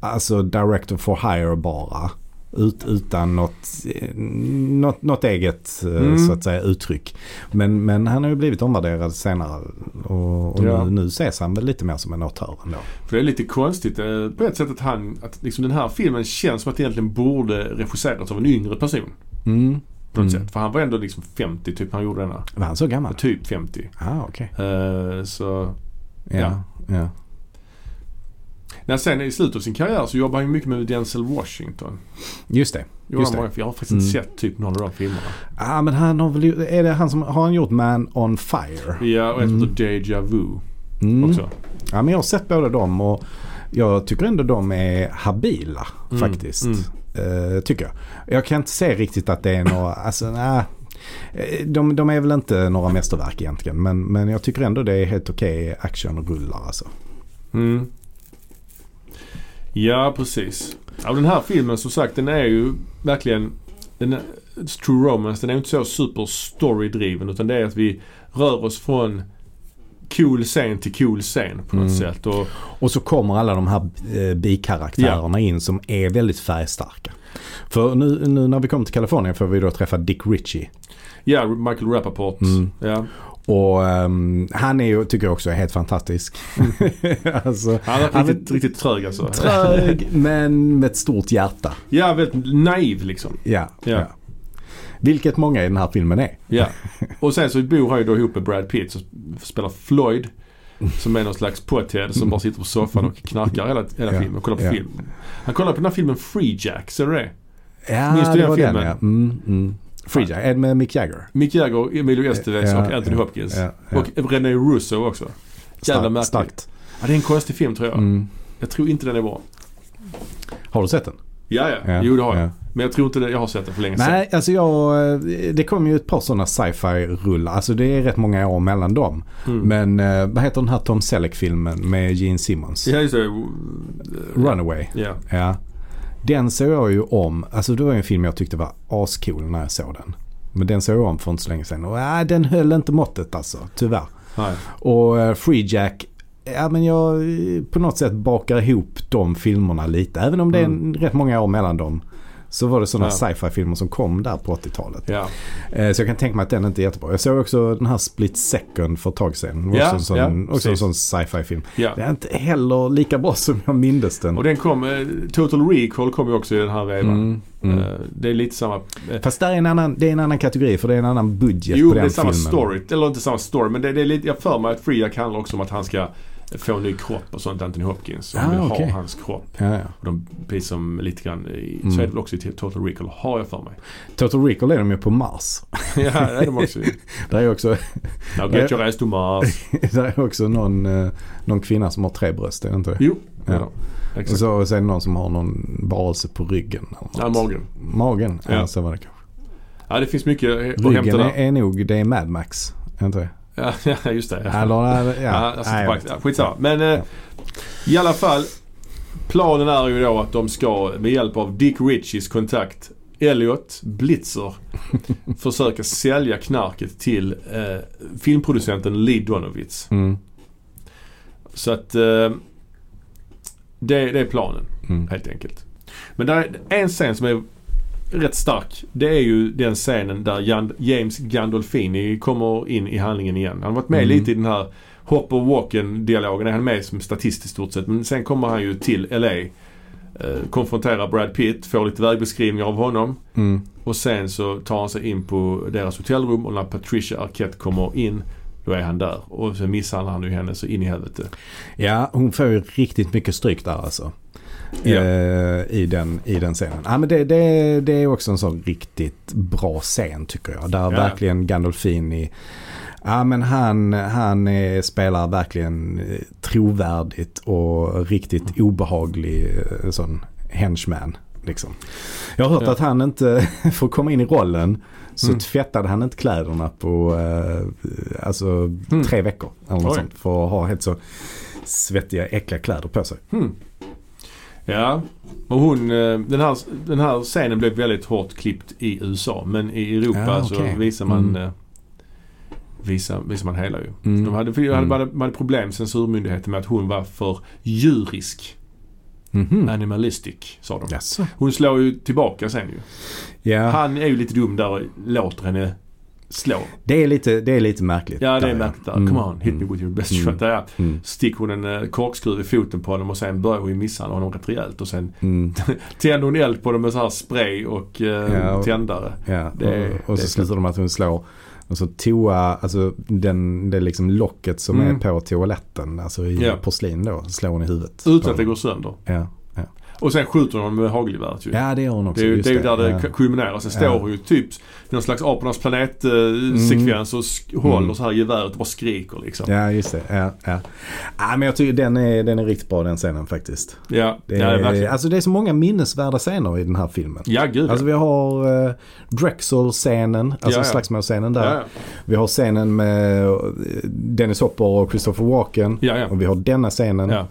B: alltså director for hire bara. Ut, utan något, eh, något, något eget eh,
A: Mm.
B: så att säga, uttryck. Men, men han har ju blivit omvärderad senare. Och, och
A: Ja.
B: nu, nu ses han väl lite mer som en auteur ändå.
A: För det är lite konstigt eh, på ett sätt att han, att liksom den här filmen känns som att den egentligen borde regisserats av en yngre person.
B: Mm.
A: På något
B: Mm.
A: sätt. För han var ändå liksom 50 typ han gjorde denna.
B: Var han så gammal?
A: Typ 50.
B: Ah, okej.
A: Eh, så
B: Ja. ja.
A: När sen i slutet av sin karriär så jobbar han ju mycket med Denzel Washington.
B: Just det.
A: Gjorde
B: Just
A: han
B: det.
A: många, för jag har faktiskt inte
B: Mm.
A: sett typ någon av de filmerna.
B: Ah, men han har väl, ju- är det han som, har han gjort Man on Fire?
A: Ja, och en som
B: Mm.
A: heter Deja Vu
B: Mm.
A: också.
B: Ja, men jag har sett båda dem och jag tycker ändå de är habila
A: Mm,
B: faktiskt.
A: mm.
B: Eh, tycker jag. Jag kan inte se riktigt att det är några, alltså nej. Eh, De, de är väl inte några mästerverk egentligen men, men jag tycker ändå det är helt okej actionrullar alltså.
A: Mm. Ja, precis. Ja, den här filmen som sagt den är ju verkligen... Den är, True Romance den är ju inte så super storydriven utan det är att vi rör oss från cool scen till cool scen på något
B: Mm.
A: sätt. Och,
B: Och så kommer alla de här eh, bikaraktärerna in som är väldigt färgstarka. För nu, nu när vi kom till Kalifornien får vi då träffa Dick Ritchie.
A: ja, Michael Rappaport.
B: Mm.
A: Ja.
B: Och ehm, han är ju, tycker jag också är helt fantastisk. alltså,
A: Han är
B: Han är
A: riktigt, riktigt trög alltså.
B: trög men med ett stort hjärta.
A: Ja, väldigt naiv liksom.
B: Ja,
A: Ja.
B: ja. Vilket många i den här filmen är.
A: Ja. Och sen så bor han ju då ihop med Brad Pitt som spelar Floyd. Som är någon slags pothead som bara sitter på soffan och knarkar hela, hela
B: Ja,
A: filmen och kollar på
B: ja.
A: film. Han kollar på den här filmen Free Jack, ser du det?
B: Ja,
A: Minns du den filmen?
B: ja. Mm, mm. Free Jack, är det med Mick Jagger?
A: Mick Jagger, Emilio Estevez
B: Ja,
A: och Anthony
B: ja,
A: Hopkins.
B: Ja, ja.
A: Och René Russo också. Jävla
B: Stark-
A: märkligt.
B: starkt.
A: Ja, det är en konstig film tror jag.
B: Mm.
A: Jag tror inte den är bra.
B: Har du sett den?
A: Ja, ja.
B: Ja,
A: Jo, det har jag.
B: ja.
A: Men jag tror inte det. Jag har sett den för länge sedan.
B: Nej, alltså jag, eh, det kom ju ett par sådana sci-fi-rullar. Alltså det är rätt många år mellan dem.
A: Mm.
B: Men eh, vad heter den här Tom Selleck-filmen med Gene Simmons?
A: Ja, just det.
B: Runaway.
A: Ja.
B: Ja. Den såg jag ju om. Alltså det var ju en film jag tyckte var ascool när jag såg den. Men den såg jag om för inte så länge sedan. Och nej, den höll inte måttet alltså, tyvärr.
A: Nej.
B: Och eh, Free Jack, ja men jag eh, på något sätt bakar ihop de filmerna lite. Även om det är en, rätt många år mellan dem. Så var det sådana
A: Mm. Ja.
B: sci-fi filmer som kom där på 80-talet.
A: Ja.
B: Eh, Så jag kan tänka mig att den inte är jättebra. Jag såg också den här Split Second för ett tag sedan. Det var
A: Ja,
B: också en sån,
A: ja,
B: också en
A: precis.
B: sån sci-fi film.
A: ja.
B: Den är inte heller lika bra som jag mindes den.
A: Och den kom, eh, Total Recall kom ju också i den här vevan.
B: Mm, mm.
A: Eh, Det är lite samma. eh,
B: Fast där är en annan, det är en annan kategori för det är en annan budget
A: Jo,
B: på
A: det
B: den
A: är samma
B: filmen.
A: story. Eller inte samma story, men det, det är lite, jag för mig att Friak handlar också om att han ska få en ny kropp och sånt, Anthony Hopkins. Och han
B: Ah,
A: vill
B: okej.
A: ha hans kropp.
B: Ja, ja.
A: Och de, precis som lite grann, i,
B: Mm.
A: så är det väl också i Total Recall, har jag för mig.
B: Total Recall är de ju på Mars.
A: ja, det är de också.
B: Där är också,
A: Now get your ass to Mars.
B: där är också någon, eh, någon kvinna som har tre bröst, är det inte det?
A: Jo,
B: Ja.
A: ja. då.
B: Och
A: exakt.
B: så och sen någon som har någon varelse på ryggen. eller något.
A: Ja, magen.
B: Magen, ja.
A: Ja.
B: så var det kanske.
A: Ja, det finns mycket eh, att hämta
B: Ryggen är,
A: där.
B: är nog, det är Mad Max. Är det inte det?
A: Ja, Ja, just det. Ja.
B: Eller, ja,
A: Ja,
B: nej, jag
A: alltså,
B: vet
A: faktiskt, ja, skitsamma. Men eh, i alla fall. Planen är ju då att de ska med hjälp av Dick Richies kontakt Elliot Blitzer försöka sälja knarket till eh, filmproducenten Lee Donovitz.
B: inte. Mm,
A: Så att eh, det, det är planen
B: mm.
A: helt enkelt. Men där är en scen som är rätt stark. Det är ju den scenen där Jan, James Gandolfini kommer in i handlingen igen. Han har varit med
B: Mm.
A: lite i den här hop och walken dialogen. Han är med som statist i stort sett. Men sen kommer han ju till LA. Eh, konfronterar Brad Pitt, får lite vägbeskrivningar av honom.
B: Mm.
A: Och sen så tar han sig in på deras hotellrum och när Patricia Arquette kommer in då är han där. Och så misshandlar han ju henne så in i helvete.
B: Ja, hon får ju riktigt mycket stryk där alltså.
A: Ja.
B: Eh, I, den, I den scenen. Ja, men det, det, det är också en sån riktigt bra scen tycker jag. Där verkligen Gandolfini, ja men han, han eh, spelar verkligen eh, trovärdigt och riktigt obehaglig eh, sån henchman. Liksom. Jag har hört
A: Ja.
B: att han inte, för att komma in i rollen, så
A: Mm.
B: tvättade han inte kläderna på eh, alltså, tre veckor. Eller
A: Mm.
B: något
A: Oj.
B: sånt, för att ha helt så svettiga, äckliga kläder på sig.
A: Hmm. Ja, och hon, eh, den, här, den här scenen blev väldigt hårt klippt i USA men i Europa
B: Ja, okej.
A: så visar man,
B: Mm.
A: eh, visar, visar man hela ju.
B: Mm.
A: De hade, för de hade,
B: Mm.
A: man hade problem censurmyndigheten med att hon var för djurisk.
B: Mhm.
A: Animalistic sa de.
B: Jaså?
A: Hon slår ju tillbaka sen ju.
B: Ja,
A: Han är ju lite dum där och låter henne slå.
B: det är lite, det är lite märkligt.
A: Ja det
B: där,
A: är märkligt där.
B: Mm.
A: Come on, hit me
B: Mm.
A: with your best
B: Mm.
A: shot. Där ja.
B: Mm.
A: sticker hon en eh, korkskruv i foten på honom och sen börjar hon ju misshandla honom rätt rejält. Och sen
B: Mm.
A: tänder hon eld på dem med så här spray och eh,
B: Ja, och-
A: tändare.
B: Ja,
A: Det-
B: och, och
A: det
B: så
A: är
B: slutar de med att hon slår. Och så toa, alltså den, det är liksom locket som
A: Mm.
B: är på toaletten, alltså i
A: Ja.
B: porslin då, så slår hon i huvudet. på
A: Utan att det
B: honom.
A: går sönder.
B: Ja.
A: Och sen skjuter hon honom med hagelgeväret ju.
B: ja, det gör hon också.
A: Det är ju,
B: just
A: det är ju där det
B: ja.
A: kulminerar. Sen
B: Ja.
A: står hon ju typ i någon slags Apornas planet-sekvens och sk- håller så här geväret och bara skriker liksom. Ja,
B: Mm. Ja, just det. Ja, ja. Ah, men jag tycker den är, den är riktigt bra den scenen faktiskt.
A: ja,
B: Det är,
A: verkligen.
B: alltså det är så många minnesvärda scener i den här filmen.
A: Ja, gud
B: Alltså
A: ja.
B: vi har eh, Drexel-scenen, alltså
A: Ja, ja.
B: slagsmålscenen
A: Ja,
B: där.
A: ja.
B: Vi har scenen med eh, Dennis Hopper och Christopher Walken.
A: Ja, ja.
B: Och vi har denna scenen.
A: Ja.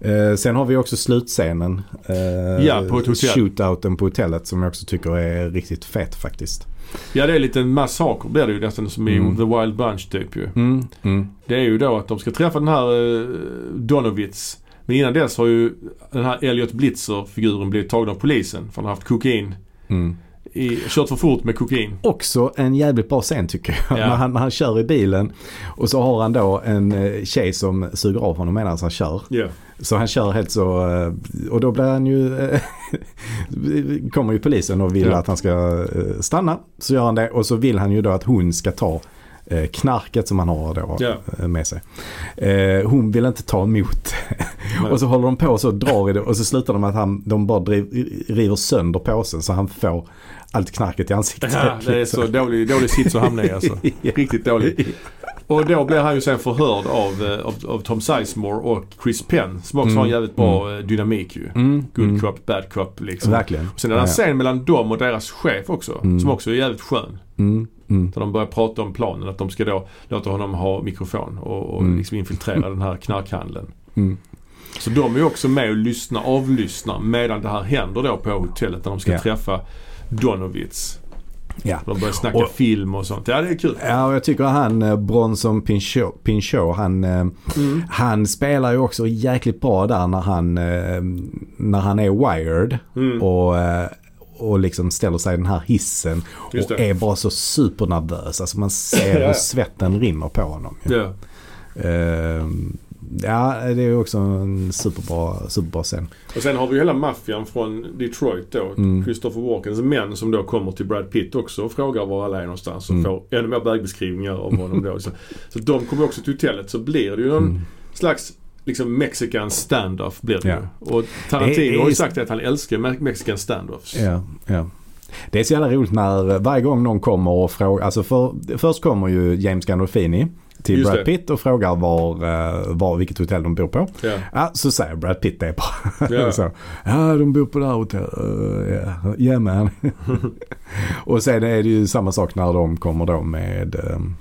B: Eh, sen har vi också slutscenen. Eh,
A: Ja, på ett hotell.
B: Shootouten på hotellet som jag också tycker är riktigt fet faktiskt.
A: ja, det är lite en massaker blir det ju nästan som i
B: Mm.
A: The Wild Bunch typ ju.
B: Mm. Mm.
A: Det är ju då att de ska träffa den här eh, Donovitz. Men innan dess har ju den här Elliot Blitzer-figuren blivit tagen av polisen för han har haft kokain.
B: Mm.
A: I, kört för fort med kokain.
B: Också en jävligt bra scen tycker jag.
A: Ja.
B: När, han, när han kör i bilen och så har han då en eh, tjej som suger av honom medan han kör.
A: Ja.
B: Så han kör helt så eh, och då blir han ju eh, kommer ju polisen och vill
A: Ja.
B: att han ska eh, stanna. Så gör han det och så vill han ju då att hon ska ta eh, knarket som han har då
A: Ja.
B: eh, med sig. Eh, Hon vill inte ta emot. och så håller de på så och drar i det och så slutar de med att han, de bara driv, river sönder påsen så han får allt knarket i ansiktet.
A: Ja, det är så dålig, dålig sits att hamna i alltså. Riktigt dålig. Och då blir han ju sen förhörd av, eh, av, av Tom Sizemore och Chris Penn som också har en jävligt bra eh, dynamik ju.
B: Mm,
A: Good
B: mm.
A: cop, bad cop liksom.
B: Verkligen.
A: Och sen är det en
B: Ja, ja.
A: scen mellan dem och deras chef också
B: Mm.
A: som också är jävligt skön.
B: Mm, mm.
A: Där de börjar prata om planen att de ska då låta honom ha mikrofon och, och
B: Mm.
A: liksom infiltrera den här knarkhandeln.
B: Mm.
A: Så de är ju också med och lyssnar, avlyssnar medan det här händer då på hotellet där de ska
B: Ja.
A: träffa Donovitz.
B: Ja.
A: De börjar snacka
B: Och-
A: film och sånt. Ja, det är kul.
B: Ja, och jag tycker han eh, Bronson Pinchot, Pinchot han, eh, han spelar ju också jäkligt bra där när han, eh, när han är wired och, eh, och liksom ställer sig i den här hissen
A: Just
B: och
A: det.
B: är bara så supernervös. Alltså man ser
A: Ja,
B: hur
A: ja.
B: svetten rinner på honom. ju.
A: Ja.
B: Eh, ja, det är också en superbra, superbra scen.
A: Och sen har vi ju hela maffian från Detroit då.
B: Mm.
A: Christopher Walkens män som då kommer till Brad Pitt också och frågar var alla är någonstans och
B: Mm.
A: får ännu mer vägbeskrivningar av honom då. Så, så de kommer också till hotellet så blir det ju någon
B: Mm.
A: slags liksom mexican standoff blir det
B: Ja.
A: ju. Och
B: Det är-
A: Tarantino har ju sagt att han älskar me- mexican standoffs.
B: Ja, ja. Det är så jävla roligt när eh, varje gång någon kommer och frågar. Alltså för, först kommer ju James Gandolfini till
A: Just
B: Brad
A: det.
B: Pitt och frågar var, eh, var, vilket hotell de bor på.
A: Ja.
B: Ja, så säger Brad Pitt det bara.
A: Ja.
B: så, ja, de bor på det här hotellet. Uh, yeah. yeah man. och sen är det ju samma sak när de kommer då med ehm,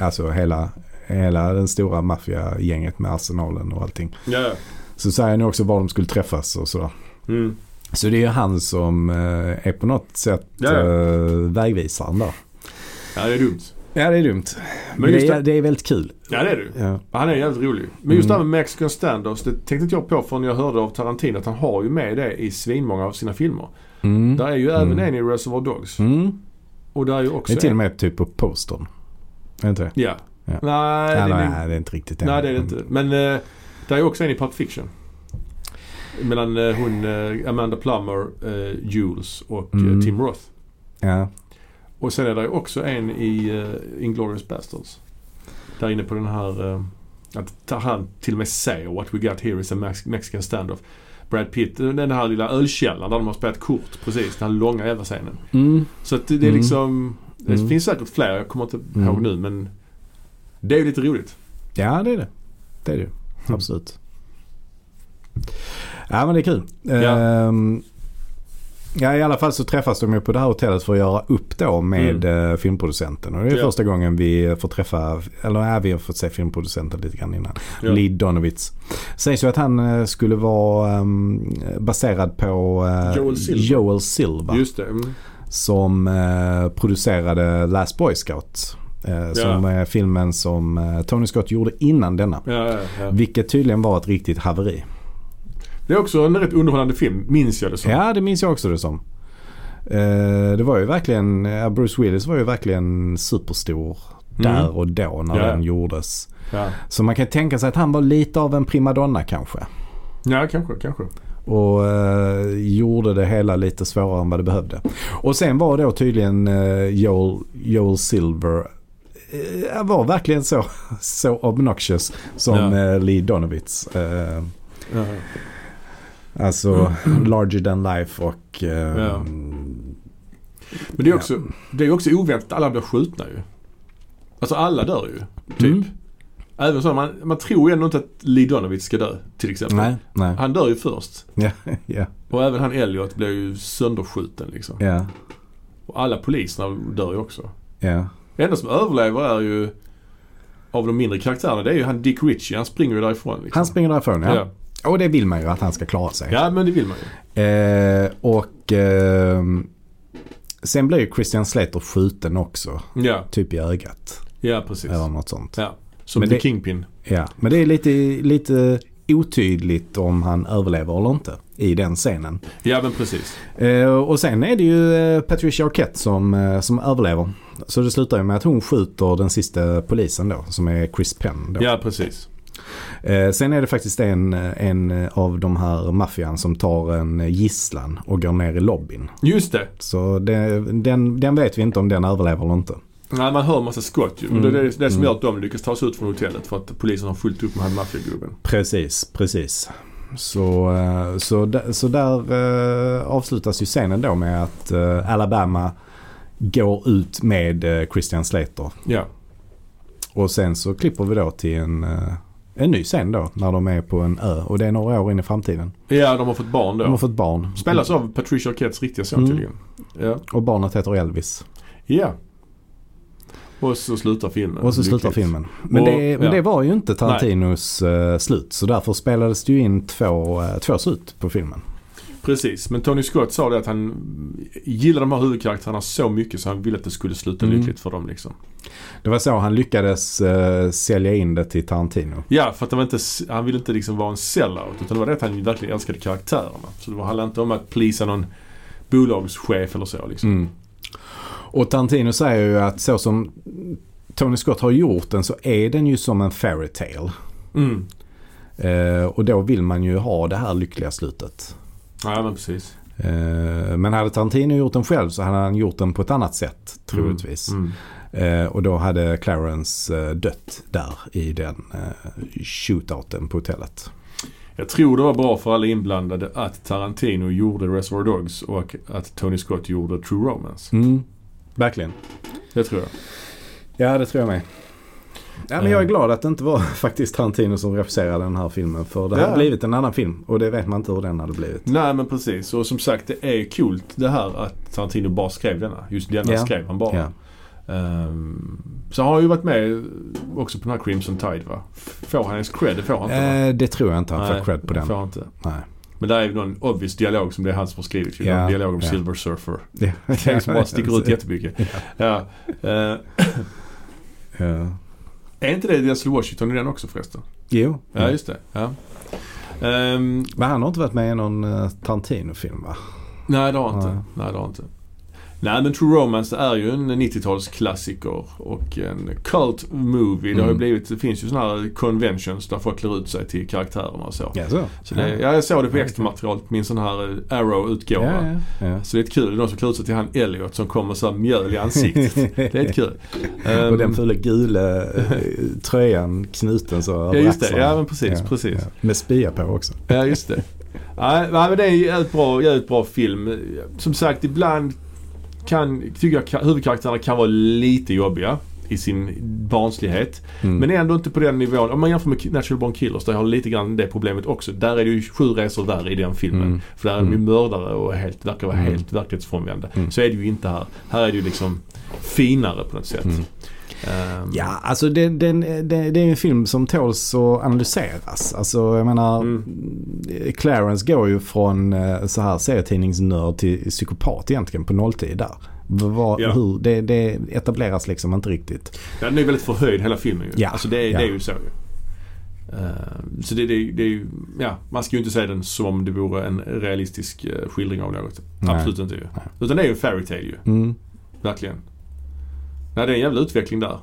B: alltså hela, hela den stora maffiagänget med arsenalen och allting.
A: ja.
B: Så säger han ju också var de skulle träffas och sådär.
A: Mm.
B: Så det är ju han som eh, är på något sätt
A: Ja, ja.
B: eh, vägvisaren där.
A: ja, det är dumt.
B: Ja, det är dumt. Men
A: Men just
B: det, är,
A: det-
B: det är väldigt kul.
A: Ja, det är du.
B: Ja.
A: Han är jävligt rolig. Men just
B: Mm.
A: det här med mexican standoffs, det tänkte inte jag på förrän jag hörde av Tarantino att han har ju med det i svinmånga av sina filmer.
B: Mm.
A: Där är ju
B: Mm.
A: även en i Reservoir Dogs.
B: Mm.
A: Och där är ju
B: Det
A: också
B: är till och
A: en...
B: med typ på postern. Är det inte det?
A: Ja.
B: Ja.
A: Nej, det är
B: Nej, nej,
A: nog-
B: det är inte Mm. riktigt
A: nej, det är det inte. Men eh, där är ju också en i Pulp Fiction. Mellan eh, hon, eh, Amanda Plummer, eh, Jules och
B: Mm.
A: eh, Tim Roth.
B: Ja.
A: Och sen är det ju också en i eh, Inglourious Basterds. Där inne på den här... eh, att ta- han till och med säger “What we got here is a Mex- Mexican standoff”. Brad Pitt, eh, den här lilla ölkällaren där de har spelat kort precis. Den här långa jävla scenen.
B: Mm.
A: Så att det, det är
B: Mm.
A: liksom... Det
B: Mm.
A: finns säkert fler, jag kommer inte
B: Mm.
A: ihåg nu men... Det är ju lite roligt.
B: ja, det är det. Det är det ju.
A: Mm.
B: Absolut. Ja, men det är kul.
A: Ja.
B: Ehm, Ja, i alla fall så träffas de ju på det här hotellet för att göra upp då med eh, filmproducenten. Och det är
A: Mm. Ja.
B: första gången vi får träffa, eller ja, vi har fått se filmproducenten lite grann innan.
A: Ja.
B: Lee Donovitz. Sägs ju att han eh, skulle vara ehm, baserad på eh,
A: Joel Silver.
B: Joel Silver.
A: Just det. Mm.
B: Som eh, producerade Last Boy Scout. Eh, som är filmen som eh, Tony Scott gjorde innan denna.
A: Ja, ja, ja.
B: Vilket tydligen var ett riktigt haveri.
A: Det är också en rätt underhållande film, minns jag det som.
B: Ja, det minns jag också det som. Eh, Det var ju verkligen, ja, Bruce Willis var ju verkligen superstor där och då när
A: Ja.
B: den gjordes.
A: Ja,
B: Så man kan tänka sig att han var lite av en primadonna kanske.
A: ja kanske, kanske.
B: Och eh, gjorde det hela lite svårare än vad det behövde. Och sen var då tydligen eh, Joel, Joel Silver eh, var verkligen så, så obnoxious som
A: Ja.
B: eh, Lee Donovitz. Eh,
A: Ja, ja.
B: alltså larger than life och eh,
A: Mm.
B: mm.
A: Ja. Men det är, också, det är också oväntat alla blir skjutna ju. Alltså alla dör ju, typ.
B: Mm.
A: Även så, man, man tror ju ändå inte att Lee Donovitz ska dö, till exempel.
B: Nej, nej.
A: Han dör ju först.
B: Ja, ja,
A: Och även han Elliot blir ju sönderskjuten liksom.
B: ja,
A: Och alla poliserna dör ju också.
B: ja.
A: Det enda som överlever är ju, av de mindre karaktärerna, det är ju han Dick Ritchie. Han springer ju därifrån liksom.
B: Han springer därifrån ja.
A: Ja.
B: Och det vill man ju att han ska klara sig.
A: Ja, men det vill man ju.
B: Eh, och ehm, sen blir ju Christian Slater skjuten också.
A: Ja,
B: Typ i ögat
A: ja precis.
B: eller något sånt.
A: Ja. Som
B: Men
A: The
B: det-
A: Kingpin.
B: Ja. Men det är lite, lite otydligt om han överlever eller inte i den scenen.
A: Ja, men precis.
B: Eh, och sen är det ju eh, Patricia Arquette som, eh, som överlever. Så det slutar ju med att hon skjuter den sista polisen då som är Chris Penn. Då.
A: Ja, precis.
B: Eh, sen är det faktiskt en, en av de här maffian som tar en gisslan och går ner i lobbyn.
A: Just det.
B: Så det, den, den vet vi inte om den överlever eller inte.
A: Nej, man hör massa skott ju. Och Det är det, det som
B: Mm.
A: gör att de lyckas ta sig ut från hotellet för att polisen har fullt upp med han maffiagubben.
B: Precis, precis. Så, eh, så, d- så där eh, avslutas ju scenen då med att eh, Alabama går ut med eh, Christian Slater.
A: Ja.
B: Och sen så klipper vi då till en, eh, en ny scen då när de är på en ö. Och det är några år in i framtiden.
A: ja, de har fått barn
B: De har
A: då.
B: fått barn.
A: Spelas av Patricia Arquettes riktiga son
B: Mm.
A: tydligen. Ja.
B: Och barnet heter Elvis.
A: ja. Och så slutar filmen.
B: Och så slutar
A: Lyckligt.
B: filmen. Men,
A: Och-
B: det, men
A: ja.
B: det var ju inte Tarantinos eh, slut. Så därför spelades det ju in två, eh, två slut på filmen.
A: Precis, men Tony Scott sa det att han gillade de här huvudkaraktärerna så mycket så han ville att det skulle sluta
B: Mm.
A: lyckligt för dem liksom.
B: Det var så han lyckades eh, sälja in det till Tarantino.
A: Ja, för att han, var inte, han ville inte liksom vara en sellout utan det var det att han verkligen älskade karaktärerna. Så det var- handlade inte om att plisa någon bolagschef eller så liksom.
B: Mm. Och Tarantino säger ju att så som Tony Scott har gjort den så är den ju som en fairy tale.
A: Mm.
B: Eh, och då vill man ju ha det här lyckliga slutet.
A: Ja, men precis.
B: Eh, men hade Tarantino gjort den själv så hade han gjort den på ett annat sätt troligtvis.
A: Mm.
B: Eh, och då hade Clarence eh, dött där i den eh, shootouten på hotellet.
A: Jag tror det var bra för alla inblandade att Tarantino gjorde Reservoir Dogs och att Tony Scott gjorde True Romance.
B: Mm. Verkligen.
A: Det tror jag.
B: Ja, det tror jag med. Ja, men jag är
A: Eh.
B: glad att det inte var faktiskt Tarantino som regisserade den här filmen. För det hade
A: Ja.
B: blivit en annan film och det vet man inte hur den hade blivit.
A: Nej, men precis. Och som sagt, det är kul det här att Tarantino bara skrev denna. Just denna
B: Ja.
A: skrev han bara.
B: Ja.
A: Ehm, så han har ju varit med också på den här Crimson Tide va? Får han ens cred? Det får han inte va?
B: Eh, det tror jag inte han
A: Nej,
B: får cred på
A: det
B: den.
A: Får han inte.
B: Nej.
A: Men där är ju någon obvious dialog som det är han som har skrivit.
B: Ja,
A: Yeah. Någon dialog om
B: ja.
A: Silver Surfer.
B: Ja.
A: Det är som bara sticker ut jättemycket. Ja. Eh,
B: Ja.
A: är inte det Denzel Washington i den också förresten?
B: Jo.
A: Ja, just det. Ja. Ehm,
B: Men han har inte varit med i någon eh, Tarantino-film va?
A: nej, det har jag inte.
B: Nej.
A: Nej. det har jag inte. Nej, men True Romance är ju en 90-talsklassiker och en cult movie. Det, har ju
B: Mm.
A: blivit, det finns ju sådana här conventions där folk klär ut sig till karaktärerna och så.
B: Ja, så.
A: så det, ja, jag såg det på extra material min sån här eh,
B: ja,
A: Arrow-utgåva.
B: ja, ja.
A: Så det är ett kul. Det är de som klär ut sig till han Elliot som kommer så här mjöl i ansiktet. det är ett kul. Ehm,
B: Och den fula gula eh, tröjan knuten så
A: Ja,
B: över
A: just det.
B: axlarna.
A: Ja, men precis.
B: Ja,
A: precis.
B: ja. Med spya på också.
A: Ja, just det. Nej, nej, men det är ju ett bra, jävligt bra film. Som sagt, ibland kan, tycker jag ka- huvudkaraktärerna kan vara lite jobbiga. i sin barnslighet.
B: Mm.
A: Men ändå inte på den nivån. Om man jämför med Natural Born Killers där jag har lite grann det problemet också. Där är det ju sju resor där i den filmen.
B: Mm.
A: För där är de ju
B: Mm.
A: mördare och helt, verkar vara
B: Mm.
A: helt verklighetsfrånvända.
B: Mm.
A: Så är det ju inte här. Här är det ju liksom finare på något sätt.
B: Mm.
A: Ehm,
B: Ja, alltså det, den- det, det är en film som tåls att analyseras. Alltså jag menar,
A: Mm.
B: Clarence går ju från eh, så här serietidningsnörd till psykopat egentligen på nolltid där. V- Vad,
A: Ja.
B: hur, det, det etableras liksom inte riktigt.
A: Ja, den är ju väldigt förhöjd hela filmen ju.
B: Ja,
A: Alltså det, är-
B: ja.
A: det är ju så ju. Ehm, Så det, det, är ju- det är ju, ja, man ska ju inte säga den som det vore en realistisk eh, skildring av något.
B: Nej.
A: Absolut inte ju.
B: Nej.
A: Utan det är ju en fairy tale ju.
B: Mm.
A: Verkligen. Nej, det är en jävla utveckling där.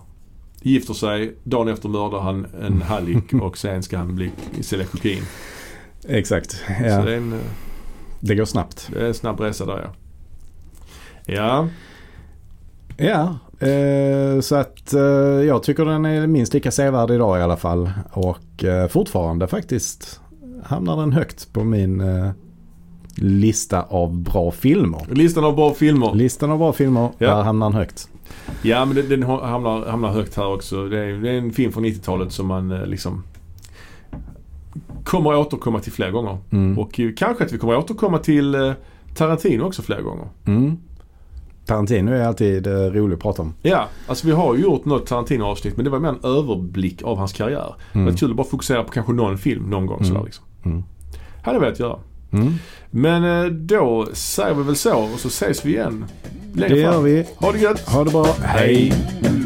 A: Gifter sig, dagen efter mördar han en hallick och sen ska han bli sälja kokain.
B: Exakt,
A: Så
B: ja,
A: det är, en, eh,
B: det går snabbt.
A: det är en snabb resa där ja. Ja,
B: Ja, eh, så att eh, jag tycker den är minst lika sevärd idag i alla fall. Och eh, fortfarande faktiskt hamnar den högt på min eh, lista av bra filmer.
A: listan av bra filmer.
B: Listan av bra filmer,
A: Ja.
B: där hamnar den högt.
A: Ja men den, den hamnar, hamnar högt här också. Det är, det är en film från 90-talet som man eh, liksom kommer återkomma till fler gånger.
B: Mm.
A: Och eh, kanske att vi kommer återkomma till eh, Tarantino också fler gånger.
B: Mm. Tarantino är alltid eh, rolig att prata om.
A: Ja, alltså vi har ju gjort något Tarantino-avsnitt men det var mer en överblick av hans karriär. Det var kul att bara fokusera på kanske någon film någon gång sådär
B: Mm.
A: liksom.
B: Mm.
A: Hade jag velat göra.
B: Mm.
A: Men eh, då säger vi väl så och så ses vi igen.
B: Det gör vi.
A: Ha det gött!
B: Ha det bra. Hej.
A: Hej.